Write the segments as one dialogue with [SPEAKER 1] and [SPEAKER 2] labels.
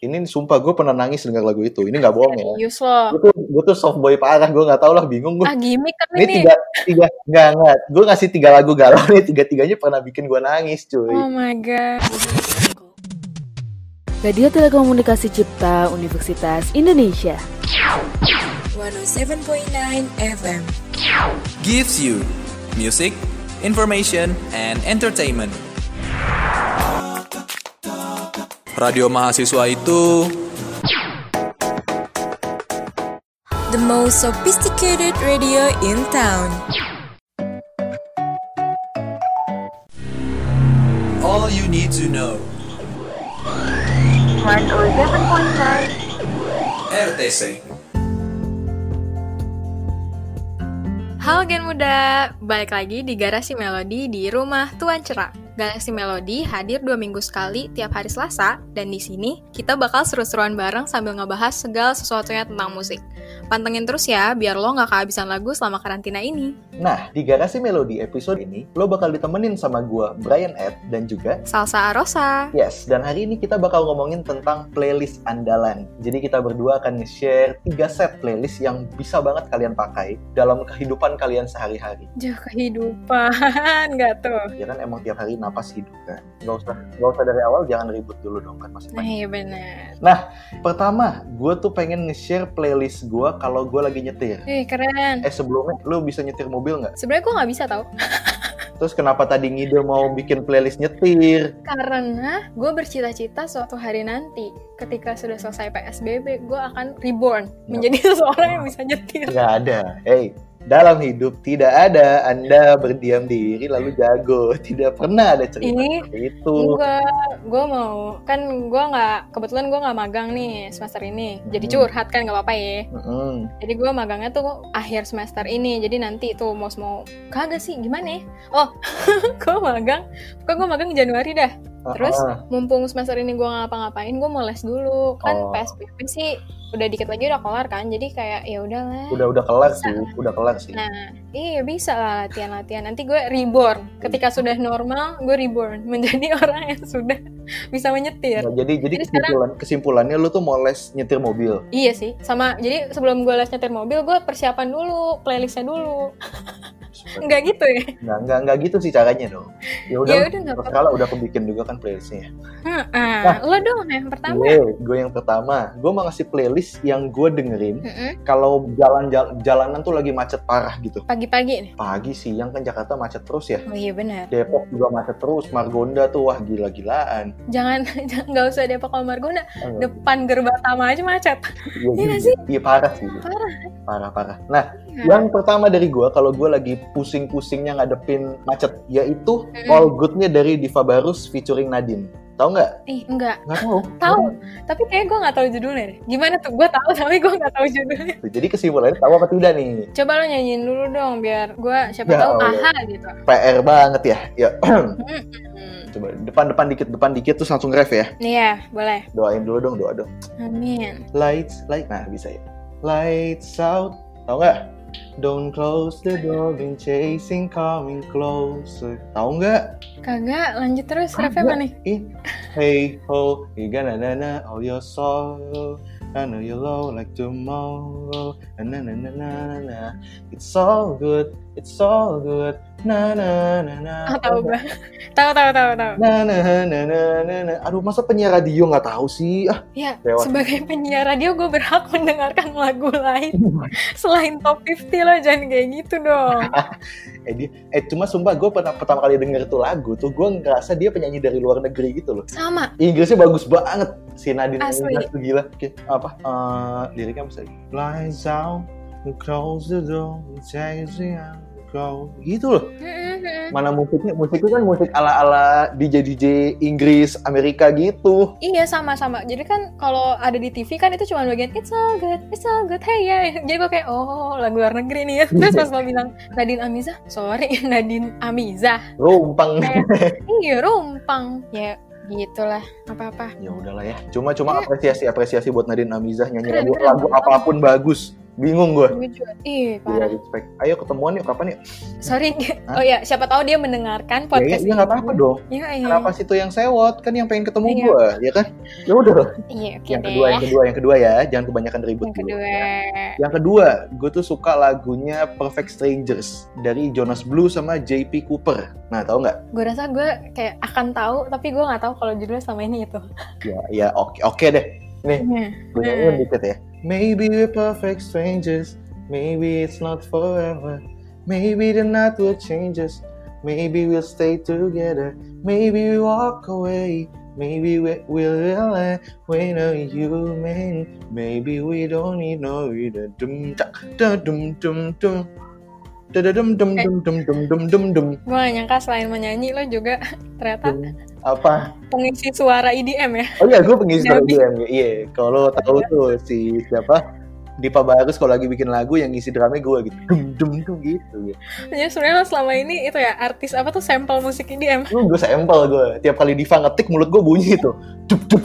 [SPEAKER 1] ini sumpah gue pernah nangis dengar lagu itu ini nggak bohong ya
[SPEAKER 2] Serius loh.
[SPEAKER 1] gue tuh gue tuh soft boy parah gue nggak tau lah bingung gue
[SPEAKER 2] Ah gimmick kan
[SPEAKER 1] ini
[SPEAKER 2] ini.
[SPEAKER 1] tiga tiga nggak nggak gue ngasih tiga lagu galau nih tiga tiganya pernah bikin gue nangis
[SPEAKER 2] Oh
[SPEAKER 1] cuy
[SPEAKER 2] my god.
[SPEAKER 3] Radio Telekomunikasi Cipta Universitas Indonesia.
[SPEAKER 4] 107.9 FM.
[SPEAKER 5] gives you music, information, and entertainment. Radio mahasiswa itu
[SPEAKER 4] The most sophisticated radio in town.
[SPEAKER 5] all you need to know. 107.9 RTC.
[SPEAKER 2] Halo Gen Muda, balik lagi di Garasi Melodi di rumah Tuan Cerah. Galaxy Melodi hadir dua minggu sekali tiap hari Selasa, dan di sini kita bakal seru-seruan bareng sambil ngebahas segala sesuatunya tentang musik. Pantengin terus ya, biar lo nggak kehabisan lagu selama karantina ini.
[SPEAKER 1] nah di garasi melodi episode ini lo bakal ditemenin sama gue Brian Ed dan juga
[SPEAKER 2] Salsa Arosa.
[SPEAKER 1] Yes, dan hari ini kita bakal ngomongin tentang playlist andalan. Jadi kita berdua akan nge-share 3 set playlist yang bisa banget kalian pakai dalam kehidupan kalian sehari-hari.
[SPEAKER 2] Jauh kehidupan, nggak tuh?
[SPEAKER 1] Ya kan emang tiap hari napas hidup kan. Nggak usah, nggak usah dari awal, jangan ribut dulu dong kan masih
[SPEAKER 2] Nah
[SPEAKER 1] panjang.
[SPEAKER 2] iya bener.
[SPEAKER 1] Pertama, gue tuh pengen nge-share playlist gue kalau gue lagi nyetir.
[SPEAKER 2] Ih keren.
[SPEAKER 1] Eh sebelumnya, lo bisa nyetir mobil nggak?
[SPEAKER 2] Sebenarnya gue nggak bisa tau
[SPEAKER 1] Terus kenapa tadi ngide mau bikin playlist nyetir?
[SPEAKER 2] Karena gue bercita-cita suatu hari nanti ketika sudah selesai PSBB, gue akan reborn
[SPEAKER 1] Ya.
[SPEAKER 2] menjadi seseorang yang bisa nyetir.
[SPEAKER 1] Nggak ada. Hey, dalam hidup tidak ada Anda berdiam diri lalu jago. Tidak pernah ada cerita
[SPEAKER 2] Ini
[SPEAKER 1] seperti itu.
[SPEAKER 2] Gue gue mau kan gue nggak kebetulan gue nggak magang nih semester ini, jadi
[SPEAKER 1] Hmm.
[SPEAKER 2] curhat kan nggak apa-apa ya.
[SPEAKER 1] Mm-mm.
[SPEAKER 2] Jadi gue magangnya tuh akhir semester ini, jadi nanti tuh mau mau kagak sih gimana ya? Oh, gue magang, pokoknya gue magang Januari dah. Terus?
[SPEAKER 1] Ah,
[SPEAKER 2] mumpung semester ini gue ngapa-ngapain gue mau les dulu
[SPEAKER 1] Oh.
[SPEAKER 2] kan PSBB sih udah dikit lagi udah kelar kan jadi kayak ya udahlah
[SPEAKER 1] udah udah kelar sih, udah kelar sih.
[SPEAKER 2] nah iya bisa lah latihan-latihan nanti gue reborn ketika sudah normal gue reborn menjadi orang yang sudah bisa menyetir
[SPEAKER 1] Nah, jadi jadi
[SPEAKER 2] Jadi
[SPEAKER 1] kesimpulan kesimpulannya lu tuh mau les nyetir mobil.
[SPEAKER 2] iya sih sama jadi sebelum gue les nyetir mobil gue persiapan dulu playlistnya dulu nggak gitu ya
[SPEAKER 1] Nggak, nggak, nggak gitu sih caranya dong. Ya udah,
[SPEAKER 2] ya udah nggak apa-apa
[SPEAKER 1] kalau udah kebikin juga kan playlistnya.
[SPEAKER 2] Heeh. lo dong yang pertama
[SPEAKER 1] Gue, gue yang pertama, gue mau ngasih playlist yang gue dengerin
[SPEAKER 2] Heeh.
[SPEAKER 1] kalau jalan jal- jalanan tuh lagi macet parah gitu.
[SPEAKER 2] pagi-pagi nih
[SPEAKER 1] Pagi siang kan Jakarta macet terus ya.
[SPEAKER 2] oh iya benar
[SPEAKER 1] Depok juga macet terus, Margonda tuh wah gila-gilaan.
[SPEAKER 2] jangan jangan- nggak usah Depok sama Margonda
[SPEAKER 1] Eh,
[SPEAKER 2] depan gerbang aja macet
[SPEAKER 1] Iya
[SPEAKER 2] iya nggak
[SPEAKER 1] juga. Iya, parah sih.
[SPEAKER 2] Parah. Iya.
[SPEAKER 1] Parah parah. Nah, yang pertama dari gua kalau gua lagi pusing-pusingnya ngadepin macet yaitu
[SPEAKER 2] Mm-mm.
[SPEAKER 1] All Good-nya dari Diva Barus featuring Nadine. Tahu nggak?
[SPEAKER 2] Ih, enggak.
[SPEAKER 1] Nggak tahu.
[SPEAKER 2] Eh, Tahu, tapi kayak gue nggak tahu judulnya deh. Gimana tuh? Gue tahu tapi gue nggak tahu judulnya.
[SPEAKER 1] Jadi kesimpulannya tahu apa tidak nih?
[SPEAKER 2] Coba lo nyanyiin dulu dong biar gue siapa
[SPEAKER 1] Ya
[SPEAKER 2] tahu
[SPEAKER 1] Allah.
[SPEAKER 2] aha gitu.
[SPEAKER 1] PR banget ya. Ya
[SPEAKER 2] Hmm.
[SPEAKER 1] coba depan-depan dikit, depan dikit terus langsung ref ya.
[SPEAKER 2] Iya, boleh.
[SPEAKER 1] Doain dulu dong, doa dong.
[SPEAKER 2] Amin.
[SPEAKER 1] Lights, light. Nah, bisa ya. Lights out. Tahu nggak? Don't close the door, been chasing, coming closer. Tahu nggak?
[SPEAKER 2] Kagak, lanjut terus.
[SPEAKER 1] Kagak.
[SPEAKER 2] Refnya mana?
[SPEAKER 1] in hey ho you gonna na na all your sorrow I know you're low like tomorrow na na na na na na it's all good it's all good na na na na
[SPEAKER 2] Ah, tahu gue. Tahu, tahu, tahu, tahu.
[SPEAKER 1] na na na na na na aduh masa penyiar radio nggak tahu sih ah
[SPEAKER 2] Ya,
[SPEAKER 1] Lewat.
[SPEAKER 2] sebagai penyiar radio gue berhak mendengarkan lagu lain
[SPEAKER 1] Oh
[SPEAKER 2] selain top 50 lo jangan kayak gitu dong.
[SPEAKER 1] eh, dia, eh cuma sumpah gue pernah pertama kali denger tuh lagu tuh gue ngerasa dia penyanyi dari luar negeri gitu loh
[SPEAKER 2] Sama.
[SPEAKER 1] Inggrisnya bagus banget si Nadine
[SPEAKER 2] Asli.
[SPEAKER 1] Amina tuh gila Oke, apa eh, liriknya apa sih Lights out close the door take the go gitu loh
[SPEAKER 2] Mm-mm.
[SPEAKER 1] mana musiknya musiknya kan musik ala ala DJ DJ Inggris Amerika gitu
[SPEAKER 2] Iya sama sama. Jadi kan kalau ada di TV kan itu cuma bagian it's all good, it's all good, hey ya. Jadi gue kayak oh lagu luar negeri nih ya. Terus pas lo bilang Nadine Amizah, sorry Nadine Amizah.
[SPEAKER 1] rumpang
[SPEAKER 2] Kayak iya rumpang. Ya gitulah apa apa.
[SPEAKER 1] ya udahlah ya cuma cuma apresiasi apresiasi buat Nadine Amizah nyanyi lagu
[SPEAKER 2] Keren, keren.
[SPEAKER 1] lagu apapun bagus bingung gue
[SPEAKER 2] Gue juga- Ih,
[SPEAKER 1] Gila,
[SPEAKER 2] parah.
[SPEAKER 1] respect. Ayo ketemuan yuk kapan yuk?
[SPEAKER 2] Sorry. Oh ya, siapa tahu dia
[SPEAKER 1] Ya,
[SPEAKER 2] mendengarkan podcast
[SPEAKER 1] ya, nggak apa-apa dong.
[SPEAKER 2] ini. Ya, iya.
[SPEAKER 1] Kenapa sih itu yang sewot? Kan yang pengen ketemu
[SPEAKER 2] Iya.
[SPEAKER 1] gue, ya kan? Ya udah.
[SPEAKER 2] Iya, oke
[SPEAKER 1] yang
[SPEAKER 2] deh.
[SPEAKER 1] kedua, yang kedua, yang kedua ya. Jangan kebanyakan ribut.
[SPEAKER 2] Yang
[SPEAKER 1] dulu,
[SPEAKER 2] kedua.
[SPEAKER 1] ya. Yang kedua, gue tuh suka lagunya Perfect Strangers dari Jonas Blue sama JP Cooper. Nah, tahu nggak?
[SPEAKER 2] Gue rasa gue kayak akan tahu, tapi gue nggak tahu kalau judulnya sama ini itu.
[SPEAKER 1] Ya, ya oke, oke deh. Gue nyanyiin dikit ya. Maybe we're perfect strangers, maybe it's not forever, maybe the night will change us, maybe we'll stay together, maybe we walk away, maybe we, we'll realize we know you mean, maybe we don't need no reader. Dum tak, da dum dum dum. Da da dum dum dum dum dum dum dum dum.
[SPEAKER 2] Gue gak nyangka selain menyanyi lo juga ternyata
[SPEAKER 1] Iya. Apa?
[SPEAKER 2] pengisi suara IDM ya.
[SPEAKER 1] Oh iya, gue pengisi lagu
[SPEAKER 2] Nabi.
[SPEAKER 1] dia. Iya, kalau lo tahu tuh si siapa Dipa Barus kalau lagi bikin lagu yang ngisi drumnya gue gitu, dum dum dum gitu.
[SPEAKER 2] Ya sebenarnya lo selama ini itu ya artis apa tuh sampel musik E IDM.
[SPEAKER 1] Lu gue sampel gue, tiap kali Diva ngetik mulut gue bunyi tuh, dup dup.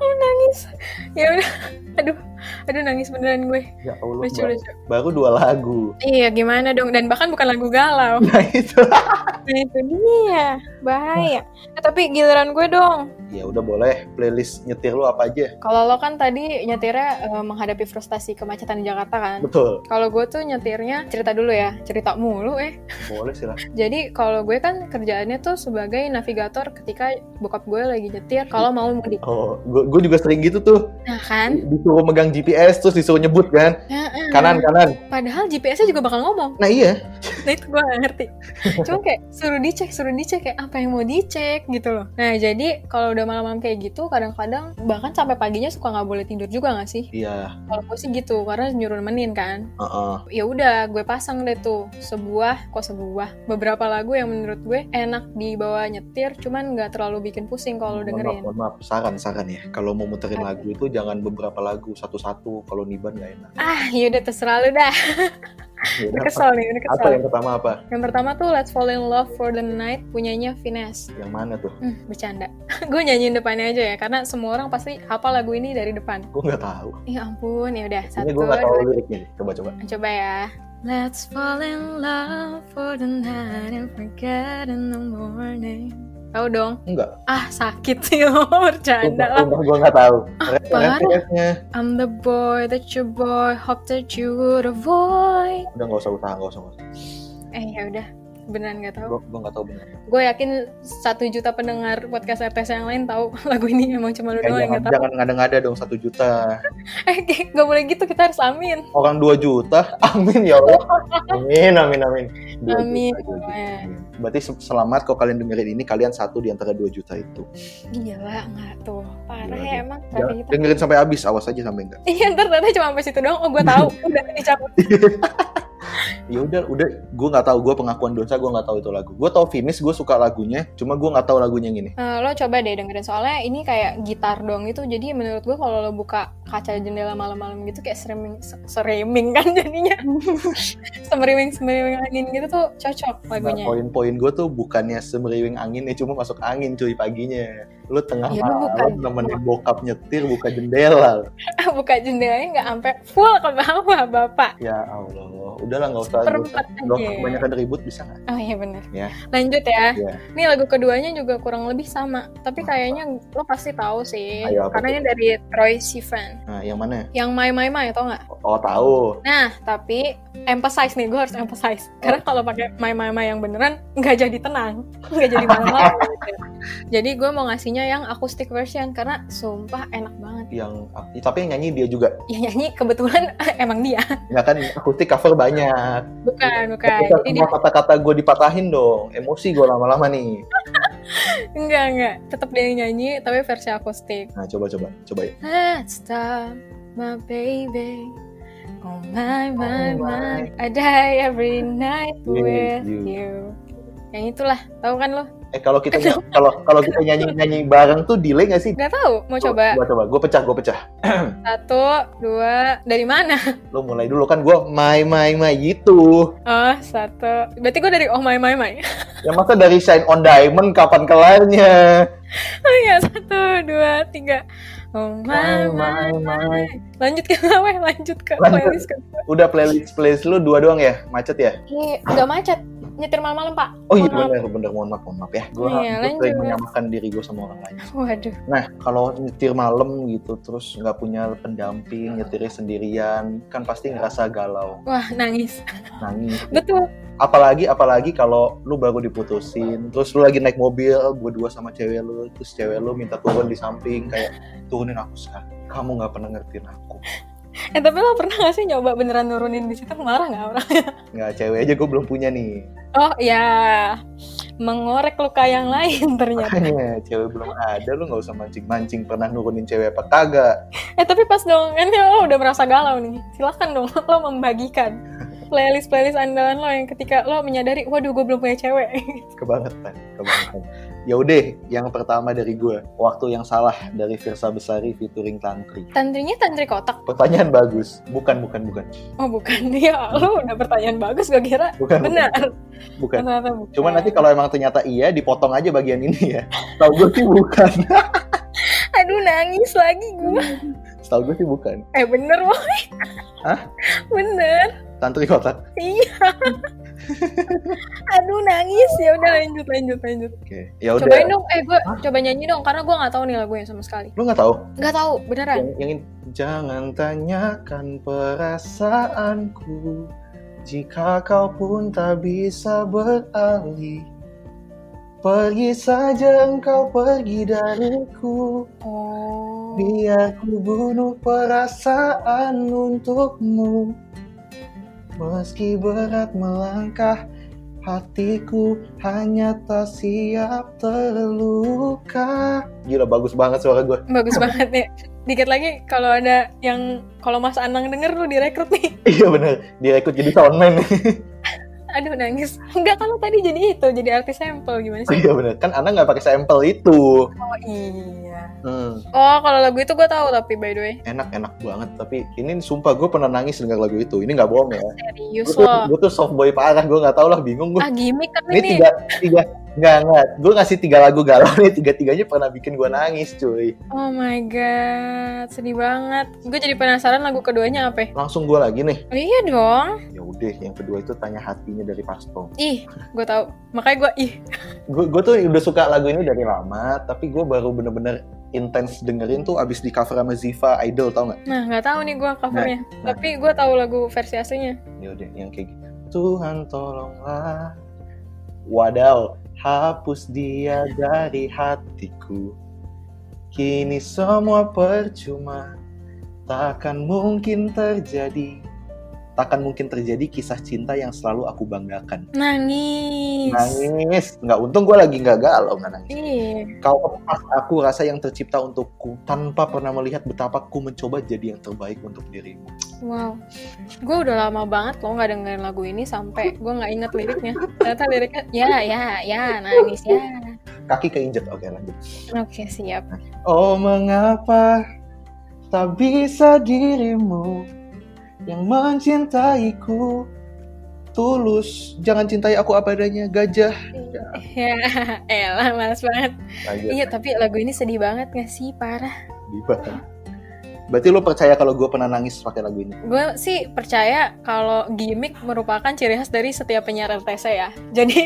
[SPEAKER 2] Oh nangis. Ya udah. Aduh, aduh nangis beneran gue.
[SPEAKER 1] ya Allah,
[SPEAKER 2] Lucu
[SPEAKER 1] baru,
[SPEAKER 2] lucu.
[SPEAKER 1] baru dua lagu.
[SPEAKER 2] Iya gimana dong? Dan bahkan bukan lagu galau.
[SPEAKER 1] Nah itu.
[SPEAKER 2] Nah itu dia Iya, bahaya. Eh, tapi giliran gue dong.
[SPEAKER 1] ya udah boleh playlist nyetir lu apa aja,
[SPEAKER 2] Kalau lo kan tadi nyetirnya eh, menghadapi frustasi kemacetan di Jakarta kan.
[SPEAKER 1] betul.
[SPEAKER 2] Kalau gue tuh nyetirnya cerita dulu ya, cerita mulu eh.
[SPEAKER 1] Boleh silahkan.
[SPEAKER 2] Jadi kalau gue kan kerjaannya tuh sebagai navigator ketika bokap gue lagi nyetir kalau mau mudik.
[SPEAKER 1] Oh, gue gue juga sering gitu tuh,
[SPEAKER 2] Nah kan,
[SPEAKER 1] disuruh megang GPS terus disuruh nyebut kan,
[SPEAKER 2] Hmm.
[SPEAKER 1] kanan kanan.
[SPEAKER 2] padahal GPS-nya juga bakal ngomong.
[SPEAKER 1] Nah iya,
[SPEAKER 2] Nah itu gue gak ngerti. Cuma kayak suruh dicek, suruh dicek kayak apa yang mau dicek gitu loh. Nah jadi kalau udah malam-malam kayak gitu kadang-kadang bahkan sampai paginya suka nggak boleh tidur juga nggak sih?
[SPEAKER 1] iya.
[SPEAKER 2] Kalau gue sih gitu karena nyuruh nemenin kan.
[SPEAKER 1] Heeh.
[SPEAKER 2] ya udah gue pasang deh tuh sebuah kok sebuah beberapa lagu yang menurut gue enak dibawa nyetir cuman nggak terlalu bikin pusing
[SPEAKER 1] Mohon
[SPEAKER 2] kalau
[SPEAKER 1] maaf,
[SPEAKER 2] dengerin
[SPEAKER 1] mohon maaf, saran saran ya. Kalau mau muterin lagu itu jangan beberapa lagu satu-satu. Kalau niban nggak enak.
[SPEAKER 2] ah yaudah terserah lu dah
[SPEAKER 1] Yaudah,
[SPEAKER 2] udah
[SPEAKER 1] apa-
[SPEAKER 2] kesel nih udah
[SPEAKER 1] Apa ya?
[SPEAKER 2] kesel
[SPEAKER 1] yang pertama apa?
[SPEAKER 2] yang pertama tuh Let's Fall in Love for the Night punyanya Finesse
[SPEAKER 1] Yang mana tuh?
[SPEAKER 2] hmm, bercanda gue nyanyiin depannya aja ya karena semua orang pasti hafal lagu ini dari depan
[SPEAKER 1] Gue nggak tahu.
[SPEAKER 2] ya ampun ya udah
[SPEAKER 1] Ini
[SPEAKER 2] satu
[SPEAKER 1] gue nggak tahu
[SPEAKER 2] dua
[SPEAKER 1] liriknya. nih. Coba coba.
[SPEAKER 2] Coba ya. Let's fall in love for the night and forget in the morning. Tahu dong?
[SPEAKER 1] Enggak.
[SPEAKER 2] Ah, sakit sih lo bercanda lah. Ah,
[SPEAKER 1] gue nggak tahu. Referensinya
[SPEAKER 2] I'm the boy that you boy hope that you would avoid.
[SPEAKER 1] udah nggak usah usaha nggak usah. nggak usah.
[SPEAKER 2] Eh ya udah, beneran nggak tahu.
[SPEAKER 1] Gue gue nggak tahu benar.
[SPEAKER 2] Gue yakin satu juta pendengar podcast RTS yang lain tahu lagu ini emang cuma lu
[SPEAKER 1] Eh,
[SPEAKER 2] doang
[SPEAKER 1] jangan
[SPEAKER 2] yang nggak tahu.
[SPEAKER 1] jangan ngada-ngada dong satu juta.
[SPEAKER 2] Eh, gak boleh gitu kita harus amin.
[SPEAKER 1] Orang dua juta. Amin ya Allah. Amin amin amin. Dua juta,
[SPEAKER 2] Amin. Eh.
[SPEAKER 1] dua juta, amin. Berarti se- selamat kalau kalian dengerin ini kalian satu di antara dua juta itu.
[SPEAKER 2] Gila Iya nggak tuh, parah
[SPEAKER 1] Gila,
[SPEAKER 2] ya
[SPEAKER 1] gila.
[SPEAKER 2] emang.
[SPEAKER 1] Jangan-
[SPEAKER 2] Tapi kita
[SPEAKER 1] dengerin sampai habis awas aja sampai enggak.
[SPEAKER 2] Iya ntar ternyata cuma sampai situ doang. Oh gue tahu, udah dicabut.
[SPEAKER 1] ya udah udah gue nggak tahu gue pengakuan dosa gue nggak tahu itu lagu gue tahu finish gue suka lagunya cuma gue nggak tahu lagunya yang ini
[SPEAKER 2] Eh, lo coba deh dengerin soalnya ini kayak gitar dong itu jadi menurut gue kalau lo buka kaca jendela malam-malam gitu kayak streaming streaming kan jadinya semeriwing semeriwing angin gitu tuh cocok
[SPEAKER 1] Nah,
[SPEAKER 2] lagunya
[SPEAKER 1] poin-poin gue tuh bukannya semeriwing angin ya cuma masuk angin cuy paginya lu tengah
[SPEAKER 2] Ya,
[SPEAKER 1] malam
[SPEAKER 2] lu bukan.
[SPEAKER 1] temenin bokap nyetir buka jendela
[SPEAKER 2] buka jendelanya nggak sampai full ke bawah bapak
[SPEAKER 1] ya allah udahlah nggak usah nggak usah
[SPEAKER 2] seperempat
[SPEAKER 1] nggak usah
[SPEAKER 2] aja
[SPEAKER 1] kebanyakan ribut bisa nggak
[SPEAKER 2] oh iya bener
[SPEAKER 1] Ya.
[SPEAKER 2] lanjut ya
[SPEAKER 1] Ya.
[SPEAKER 2] ini lagu keduanya juga kurang lebih sama tapi kayaknya lo pasti tahu sih
[SPEAKER 1] Ayo, apa
[SPEAKER 2] karena
[SPEAKER 1] tuh?
[SPEAKER 2] ini dari Troy Sivan
[SPEAKER 1] nah yang mana
[SPEAKER 2] yang My My My tau nggak
[SPEAKER 1] oh tahu
[SPEAKER 2] Nah, tapi emphasize nih, gue harus emphasize. Karena
[SPEAKER 1] Oh.
[SPEAKER 2] kalau pakai my-my-my yang beneran, nggak jadi tenang. Nggak jadi malam-malam. gitu. Jadi gue mau ngasihnya yang acoustic version, karena sumpah enak banget.
[SPEAKER 1] yang ya, tapi yang nyanyi dia juga
[SPEAKER 2] Ya nyanyi kebetulan emang dia.
[SPEAKER 1] nggak kan akustik cover banyak
[SPEAKER 2] Bukan, bukan.
[SPEAKER 1] Ketika
[SPEAKER 2] Jadi dia,
[SPEAKER 1] semua kata-kata gue dipatahin dong emosi gue lama-lama nih
[SPEAKER 2] enggak, enggak. Tetap dia yang nyanyi, tapi versi acoustic.
[SPEAKER 1] nah coba coba coba ya
[SPEAKER 2] Let's stop my baby. Oh my, my,
[SPEAKER 1] Oh my.
[SPEAKER 2] my. I die every night
[SPEAKER 1] With
[SPEAKER 2] with
[SPEAKER 1] you.
[SPEAKER 2] you. Yang itulah, tahu kan lo?
[SPEAKER 1] Eh kalau kita kalau kalau kita nyanyi nyanyi bareng tuh delay nggak sih?
[SPEAKER 2] Nggak tahu, mau coba.
[SPEAKER 1] Gua coba. Gue pecah, gue pecah.
[SPEAKER 2] Satu, dua, dari mana?
[SPEAKER 1] Lo mulai dulu kan gue my my my gitu.
[SPEAKER 2] Oh, satu. Berarti gue dari Oh My My My.
[SPEAKER 1] Yang Ya, masa dari Shine on Diamond kapan kelarnya?
[SPEAKER 2] Oh iya, satu, dua, tiga. Oh my my my. Lanjut ke Weh, lanjut ke
[SPEAKER 1] Lanjut.
[SPEAKER 2] playlist ke.
[SPEAKER 1] Udah playlist playlist lu dua doang ya? Macet ya?
[SPEAKER 2] Ini nggak macet. Nyetir malam-malam, Pak.
[SPEAKER 1] Oh iya
[SPEAKER 2] Mohon
[SPEAKER 1] bener, bener, mohon maaf, mohon maaf ya. Gue
[SPEAKER 2] Iya,
[SPEAKER 1] sering
[SPEAKER 2] lanjut.
[SPEAKER 1] menyamakan diri gue sama orang lain.
[SPEAKER 2] maaf. Waduh.
[SPEAKER 1] Nah, kalau nyetir malam gitu, terus nggak punya pendamping, nyetirnya sendirian, kan pasti ngerasa galau,
[SPEAKER 2] Wah, nangis.
[SPEAKER 1] nangis.
[SPEAKER 2] Betul.
[SPEAKER 1] Apalagi, apalagi kalau lu baru diputusin, terus lu lagi naik mobil, berdua sama cewek lu, terus cewek lu minta turun di samping, kayak turunin aku sekarang. Kamu nggak pernah ngertiin aku.
[SPEAKER 2] Eh, tapi lo pernah gak sih nyoba beneran nurunin di situ? Marah nggak orang?
[SPEAKER 1] Nggak, cewek aja gue belum punya nih.
[SPEAKER 2] Oh, ya. Mengorek luka yang lain ternyata.
[SPEAKER 1] Makanya cewek belum ada, lu nggak usah mancing-mancing pernah nurunin cewek apa kagak.
[SPEAKER 2] Eh, tapi pas dong. Ini lo udah merasa galau nih. Silahkan dong lo membagikan playlist-playlist andalan lo yang ketika lo menyadari, waduh, gue belum punya cewek.
[SPEAKER 1] kebangetan kebangetan ya udah yang pertama dari gue waktu yang salah dari Virsa Besari featuring Tantri
[SPEAKER 2] Tantrinya tantri kotak.
[SPEAKER 1] pertanyaan bagus bukan bukan bukan
[SPEAKER 2] Oh, bukan. Ya, lo udah pertanyaan bagus. Gue kira
[SPEAKER 1] bukan
[SPEAKER 2] benar.
[SPEAKER 1] bukan, bukan.
[SPEAKER 2] Ternyata bukan.
[SPEAKER 1] Cuman nanti kalau emang ternyata iya, dipotong aja bagian ini ya. Setahu gue sih bukan.
[SPEAKER 2] Aduh, nangis lagi gue.
[SPEAKER 1] Setahu gue sih bukan.
[SPEAKER 2] Eh, bener, Woi.
[SPEAKER 1] Hah?
[SPEAKER 2] Bener.
[SPEAKER 1] Tantri kotak.
[SPEAKER 2] Iya. Aduh, nangis. Ya udah lanjut, lanjut, lanjut.
[SPEAKER 1] Oke. Ya
[SPEAKER 2] Cobain
[SPEAKER 1] udah.
[SPEAKER 2] dong. Eh, gue coba nyanyi dong. Karena gue nggak tahu nih lagunya sama sekali.
[SPEAKER 1] Lu nggak tahu?
[SPEAKER 2] Nggak tahu, beneran.
[SPEAKER 1] Yang, yang ini, jangan tanyakan perasaanku jika kau pun tak bisa beralih. Pergi saja engkau pergi dariku.
[SPEAKER 2] Oh.
[SPEAKER 1] Biar ku bunuh perasaan untukmu Meski berat melangkah Hatiku hanya tak siap terluka Gila bagus banget suara gue
[SPEAKER 2] Bagus banget nih. Dikit lagi kalau ada yang kalau Mas Anang denger lu direkrut nih.
[SPEAKER 1] Iya bener, direkrut jadi soundman
[SPEAKER 2] Aduh nangis. Enggak kalau tadi jadi itu, jadi artis sampel gimana sih?
[SPEAKER 1] Iya bener, kan Ana nggak pakai sampel itu
[SPEAKER 2] Oh iya.
[SPEAKER 1] Hmm,
[SPEAKER 2] Oh, kalau lagu itu gue tahu tapi by the way.
[SPEAKER 1] Enak-enak banget, tapi ini sumpah gue pernah nangis dengar lagu itu Ini nggak bohong ya
[SPEAKER 2] Serius
[SPEAKER 1] Gue tuh,
[SPEAKER 2] loh.
[SPEAKER 1] gua tuh soft boy parah, gue nggak tau lah bingung gue
[SPEAKER 2] Ah gimmick kan
[SPEAKER 1] ini
[SPEAKER 2] ini.
[SPEAKER 1] tiga tiga nggak nggak gue ngasih tiga lagu galau nih tiga tiganya pernah bikin gue nangis cuy
[SPEAKER 2] Oh my god, sedih banget. Gue jadi penasaran lagu keduanya apa? ya?
[SPEAKER 1] langsung gue lagi nih
[SPEAKER 2] Oh, iya dong.
[SPEAKER 1] ya udah yang kedua itu tanya hatinya dari Pasto
[SPEAKER 2] Ih, gue tahu. Makanya gue ih.
[SPEAKER 1] gue gue tuh udah suka lagu ini dari lama tapi gue baru bener-bener intens dengerin tuh abis di cover sama Ziva Idol tau nggak
[SPEAKER 2] Nah, nggak tahu nih gue covernya.
[SPEAKER 1] nah.
[SPEAKER 2] Tapi gue tahu lagu versi aslinya.
[SPEAKER 1] ya udah yang kayak gitu Tuhan tolonglah wadaw hapus dia dari hatiku kini semua percuma takkan mungkin terjadi takkan mungkin terjadi kisah cinta yang selalu aku banggakan
[SPEAKER 2] Nangis.
[SPEAKER 1] nangis nggak untung gue lagi nggak galau nggak nangis
[SPEAKER 2] Iya.
[SPEAKER 1] kau kepas aku rasa yang tercipta untukku tanpa pernah melihat betapa ku mencoba jadi yang terbaik untuk dirimu
[SPEAKER 2] Wow. Gue udah lama banget loh nggak dengerin lagu ini sampai gue nggak inget liriknya. Ternyata liriknya ya ya ya nangis ya.
[SPEAKER 1] kaki keinjek oke lanjut
[SPEAKER 2] Oke, siap.
[SPEAKER 1] Oh mengapa tak bisa dirimu yang mencintaiku tulus jangan cintai aku apa adanya gajah
[SPEAKER 2] Ya, elah males banget.
[SPEAKER 1] gajah
[SPEAKER 2] Iya, tapi lagu ini sedih banget gak sih? Parah.
[SPEAKER 1] Diva. berarti lo percaya kalau gue pernah nangis pakai lagu ini
[SPEAKER 2] Gue sih percaya kalau gimmick merupakan ciri khas dari setiap penyiar RTC ya. Jadi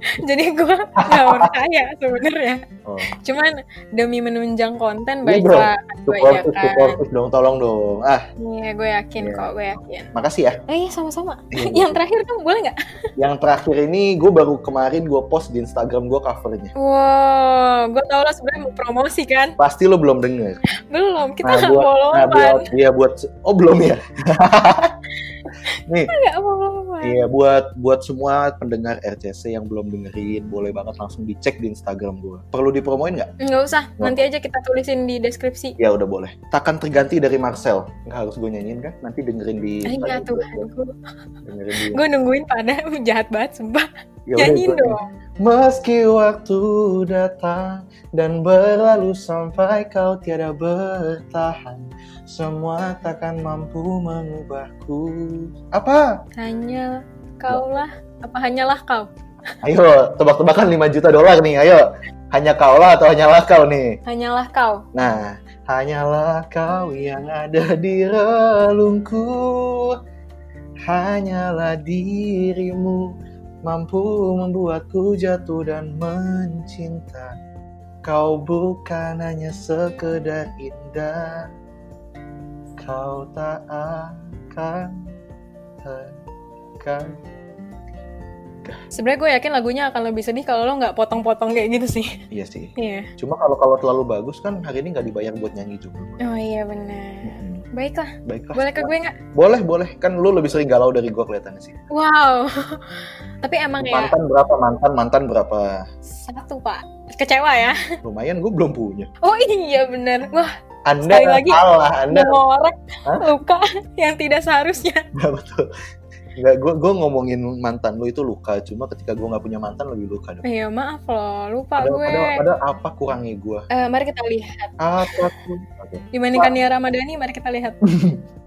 [SPEAKER 2] jadi gue gak percaya sebenarnya.
[SPEAKER 1] oh
[SPEAKER 2] Cuman demi menunjang konten
[SPEAKER 1] Iya,
[SPEAKER 2] baiklah gue
[SPEAKER 1] supportus
[SPEAKER 2] iakan.
[SPEAKER 1] supportus dong tolong dong ah
[SPEAKER 2] Iya, gue yakin
[SPEAKER 1] Iya.
[SPEAKER 2] kok, gue yakin.
[SPEAKER 1] makasih ya
[SPEAKER 2] Eh, iya, sama-sama. Yang terakhir dong, boleh nggak?
[SPEAKER 1] yang terakhir ini gue baru kemarin gue post di Instagram gue covernya
[SPEAKER 2] Wow, gue tau lo sebenarnya mau promosi kan?
[SPEAKER 1] pasti lo belum denger
[SPEAKER 2] Belum, kita
[SPEAKER 1] Nah,
[SPEAKER 2] nggak
[SPEAKER 1] buat- nah
[SPEAKER 2] followan.
[SPEAKER 1] buat dia buat oh belum ya nih
[SPEAKER 2] Nggak followan.
[SPEAKER 1] Iya buat buat semua pendengar RCC yang belum dengerin boleh banget langsung dicek di Instagram gue. Perlu dipromoin nggak?
[SPEAKER 2] Nggak usah, nanti aja kita tulisin di deskripsi.
[SPEAKER 1] Ya udah boleh. Takkan terganti dari Marcel. Nggak harus gue nyanyiin kan? Nanti dengerin di.
[SPEAKER 2] Iya
[SPEAKER 1] Instagram
[SPEAKER 2] Tuhan,
[SPEAKER 1] gua. Dengerin di.
[SPEAKER 2] gue nungguin pada jahat banget sumpah.
[SPEAKER 1] Ya udah,
[SPEAKER 2] Nyanyiin
[SPEAKER 1] gua-
[SPEAKER 2] dong.
[SPEAKER 1] Meski waktu datang dan berlalu sampai kau tiada bertahan, semua takkan mampu mengubahku. Apa?
[SPEAKER 2] Hanya kaulah, apa hanyalah kau?
[SPEAKER 1] Ayo, tebak-tebakan 5 juta dolar nih, ayo.
[SPEAKER 6] Hanya kaulah atau hanyalah kau nih?
[SPEAKER 2] Hanyalah kau.
[SPEAKER 6] Nah, hanyalah kau yang ada di relungku. Hanyalah dirimu mampu membuatku jatuh dan mencinta. Kau bukan hanya sekedar indah. Kau tak akan tergantikan.
[SPEAKER 2] Sebenarnya gue yakin lagunya akan lebih sedih kalau lo nggak potong-potong kayak gitu sih.
[SPEAKER 6] Iya sih.
[SPEAKER 2] Iya.
[SPEAKER 6] Cuma kalau kalau terlalu bagus kan hari ini nggak dibayar buat nyanyi juga.
[SPEAKER 2] Oh iya benar.
[SPEAKER 6] Mm-mm.
[SPEAKER 2] Baiklah,
[SPEAKER 6] Baiklah.
[SPEAKER 2] boleh ke gue nggak?
[SPEAKER 6] Boleh, boleh. Kan lu lebih sering galau dari gua kelihatannya sih.
[SPEAKER 2] Iya. Wow. Tapi emang ya
[SPEAKER 6] Mantan berapa? Mantan, mantan berapa?
[SPEAKER 2] satu pak. Kecewa ya?
[SPEAKER 6] Lumayan gua belum punya.
[SPEAKER 2] Oh iya benar. Wah
[SPEAKER 6] Anda
[SPEAKER 2] Sekali lagi,
[SPEAKER 6] salah, Anda
[SPEAKER 2] mengorek
[SPEAKER 6] Hah?
[SPEAKER 2] luka yang tidak seharusnya.
[SPEAKER 6] nggak betul. Nggak, gua gua ngomongin mantan lu itu luka. Cuma ketika gua nggak punya mantan lebih luka dong.
[SPEAKER 2] Iya maaf loh, lupa
[SPEAKER 6] Padahal,
[SPEAKER 2] gue.
[SPEAKER 6] padahal- padahal apa kurangnya gua?
[SPEAKER 2] Eh, mari kita lihat.
[SPEAKER 6] Apa kurang? Oke.
[SPEAKER 2] Dibandingkan Nia Ramadhani, mari kita lihat.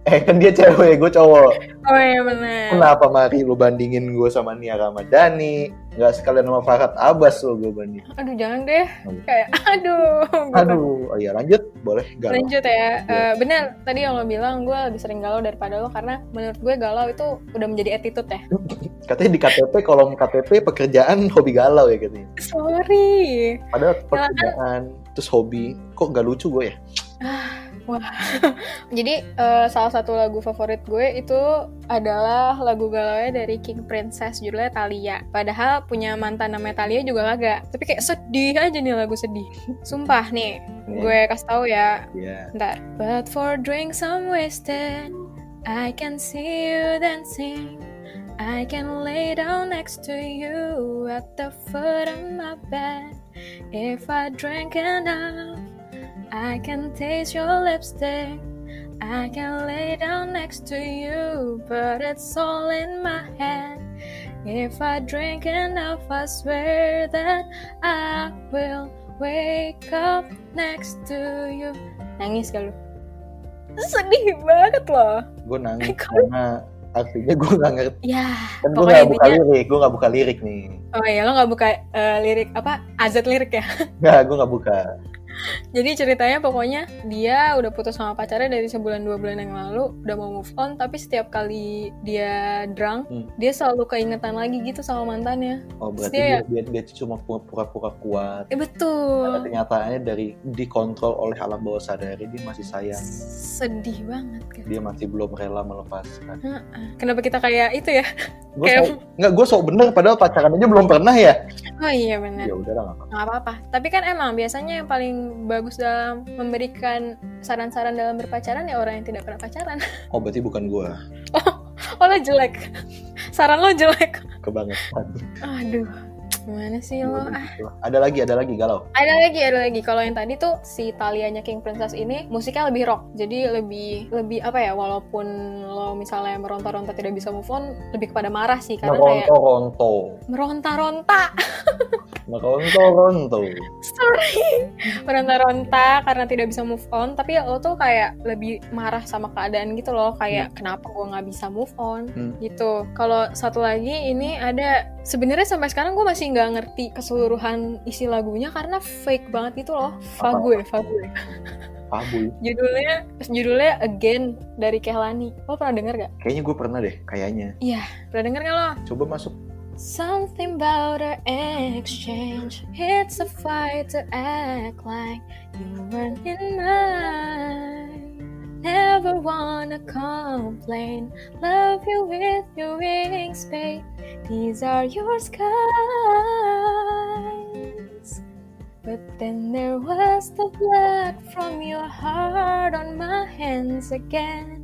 [SPEAKER 6] Eh kan dia cewek, gua cowok.
[SPEAKER 2] Oh iya benar.
[SPEAKER 6] Kenapa mari lu bandingin gua sama Nia Ramadhani? Nggak sekalian sama Farhat Abbas lo gua bandingin.
[SPEAKER 2] Aduh jangan deh. Kayak aduh. gitu.
[SPEAKER 6] Aduh, oh iya lanjut, boleh galau.
[SPEAKER 2] Lanjut ya,
[SPEAKER 6] Iya.
[SPEAKER 2] Eh, benar tadi yang lo bilang gue lebih sering galau daripada lo karena menurut gue galau itu udah menjadi attitude ya.
[SPEAKER 6] Katanya di KTP kolom KTP pekerjaan hobi galau ya katanya.
[SPEAKER 2] Sorry,
[SPEAKER 6] Padahal
[SPEAKER 2] kan?
[SPEAKER 6] pekerjaan terus hobi kok nggak lucu gue ya?
[SPEAKER 2] Jadi eh, salah satu lagu favorit gue itu adalah lagu galaunya dari King Princess judulnya Thalia. Padahal punya mantan namanya Thalia juga kagak. Tapi kayak sedih aja nih lagu sedih. Sumpah nih, gue kasih tahu ya.
[SPEAKER 6] Iya.
[SPEAKER 2] Bentar. But for drinks I'm wasted, I can see you dancing. I can lay down next to you at the foot of my bed. If I drink enough, I can taste your lipstick. I can lay down next to you, but it's all in my head. If I drink enough, I swear that I will wake up next to you. Nangis gak lu? Sedih banget loh.
[SPEAKER 6] Gue nangis
[SPEAKER 2] Eh, kok-
[SPEAKER 6] karena artinya gue nggak ngerti.
[SPEAKER 2] Ya,
[SPEAKER 6] Kan gue
[SPEAKER 2] Pokoknya
[SPEAKER 6] nggak buka
[SPEAKER 2] intinya-
[SPEAKER 6] lirik, gue nggak buka lirik nih.
[SPEAKER 2] oh ya lo nggak buka eh, lirik apa azat lirik ya?
[SPEAKER 6] Nggak, gue nggak buka.
[SPEAKER 2] Jadi ceritanya pokoknya dia udah putus sama pacarnya dari sebulan dua bulan yang lalu, udah mau move on, tapi setiap kali dia drunk,
[SPEAKER 6] Hmm.
[SPEAKER 2] dia selalu keingetan lagi gitu sama mantannya.
[SPEAKER 6] Oh berarti
[SPEAKER 2] Iya.
[SPEAKER 6] dia, dia, dia tuh cuma pu- pura-pura
[SPEAKER 2] Eh
[SPEAKER 6] kuat. Karena
[SPEAKER 2] betul.
[SPEAKER 6] kenyataannya dari dikontrol oleh alam bawah sadar dia masih sayang.
[SPEAKER 2] Sedih banget kan.
[SPEAKER 6] Dia masih belum rela melepaskan.
[SPEAKER 2] Kenapa kita kayak itu ya?
[SPEAKER 6] Gue
[SPEAKER 2] Kayak-
[SPEAKER 6] sok, nggak gue sok bener padahal pacaran aja belum pernah ya.
[SPEAKER 2] Oh iya benar.
[SPEAKER 6] Ya udah lah nggak apa-apa.
[SPEAKER 2] Nggak apa-apa. Tapi kan emang biasanya yang paling bagus dalam memberikan saran-saran dalam berpacaran ya orang yang tidak pernah pacaran.
[SPEAKER 6] Oh berarti bukan gue,
[SPEAKER 2] Oh lo jelek. Saran lo jelek.
[SPEAKER 6] kebangetan.
[SPEAKER 2] Aduh. Gimana sih lo? Ah,
[SPEAKER 6] Ada lagi, ada lagi galau.
[SPEAKER 2] Ada lagi, ada lagi. Kalau yang tadi tuh si Talianya King Princess ini musiknya lebih rock. Jadi lebih lebih apa ya? Walaupun lo misalnya meronta-ronta tidak bisa move on, lebih kepada marah sih karena kayak
[SPEAKER 6] Meronto, ronto,
[SPEAKER 2] meronta-ronta.
[SPEAKER 6] meronto, ronto.
[SPEAKER 2] sorry meronta-ronta karena tidak bisa move on tapi lo tuh kayak lebih marah sama keadaan gitu loh kayak kenapa gue nggak bisa move on
[SPEAKER 6] Hmm.
[SPEAKER 2] gitu kalau satu lagi ini ada sebenarnya sampai sekarang gue masih nggak ngerti keseluruhan isi lagunya karena fake banget gitu loh fague fague
[SPEAKER 6] Pabuy.
[SPEAKER 2] judulnya judulnya again dari Kehlani lo pernah denger gak
[SPEAKER 6] Kayaknya gue pernah deh, kayaknya.
[SPEAKER 2] pernah denger gak lo
[SPEAKER 6] Coba masuk.
[SPEAKER 2] Something about our exchange. It's a fight to act like you weren't in mine. Never wanna complain. Love you with your wings, babe. These are your skies. But then there was the blood from your heart on my hands again.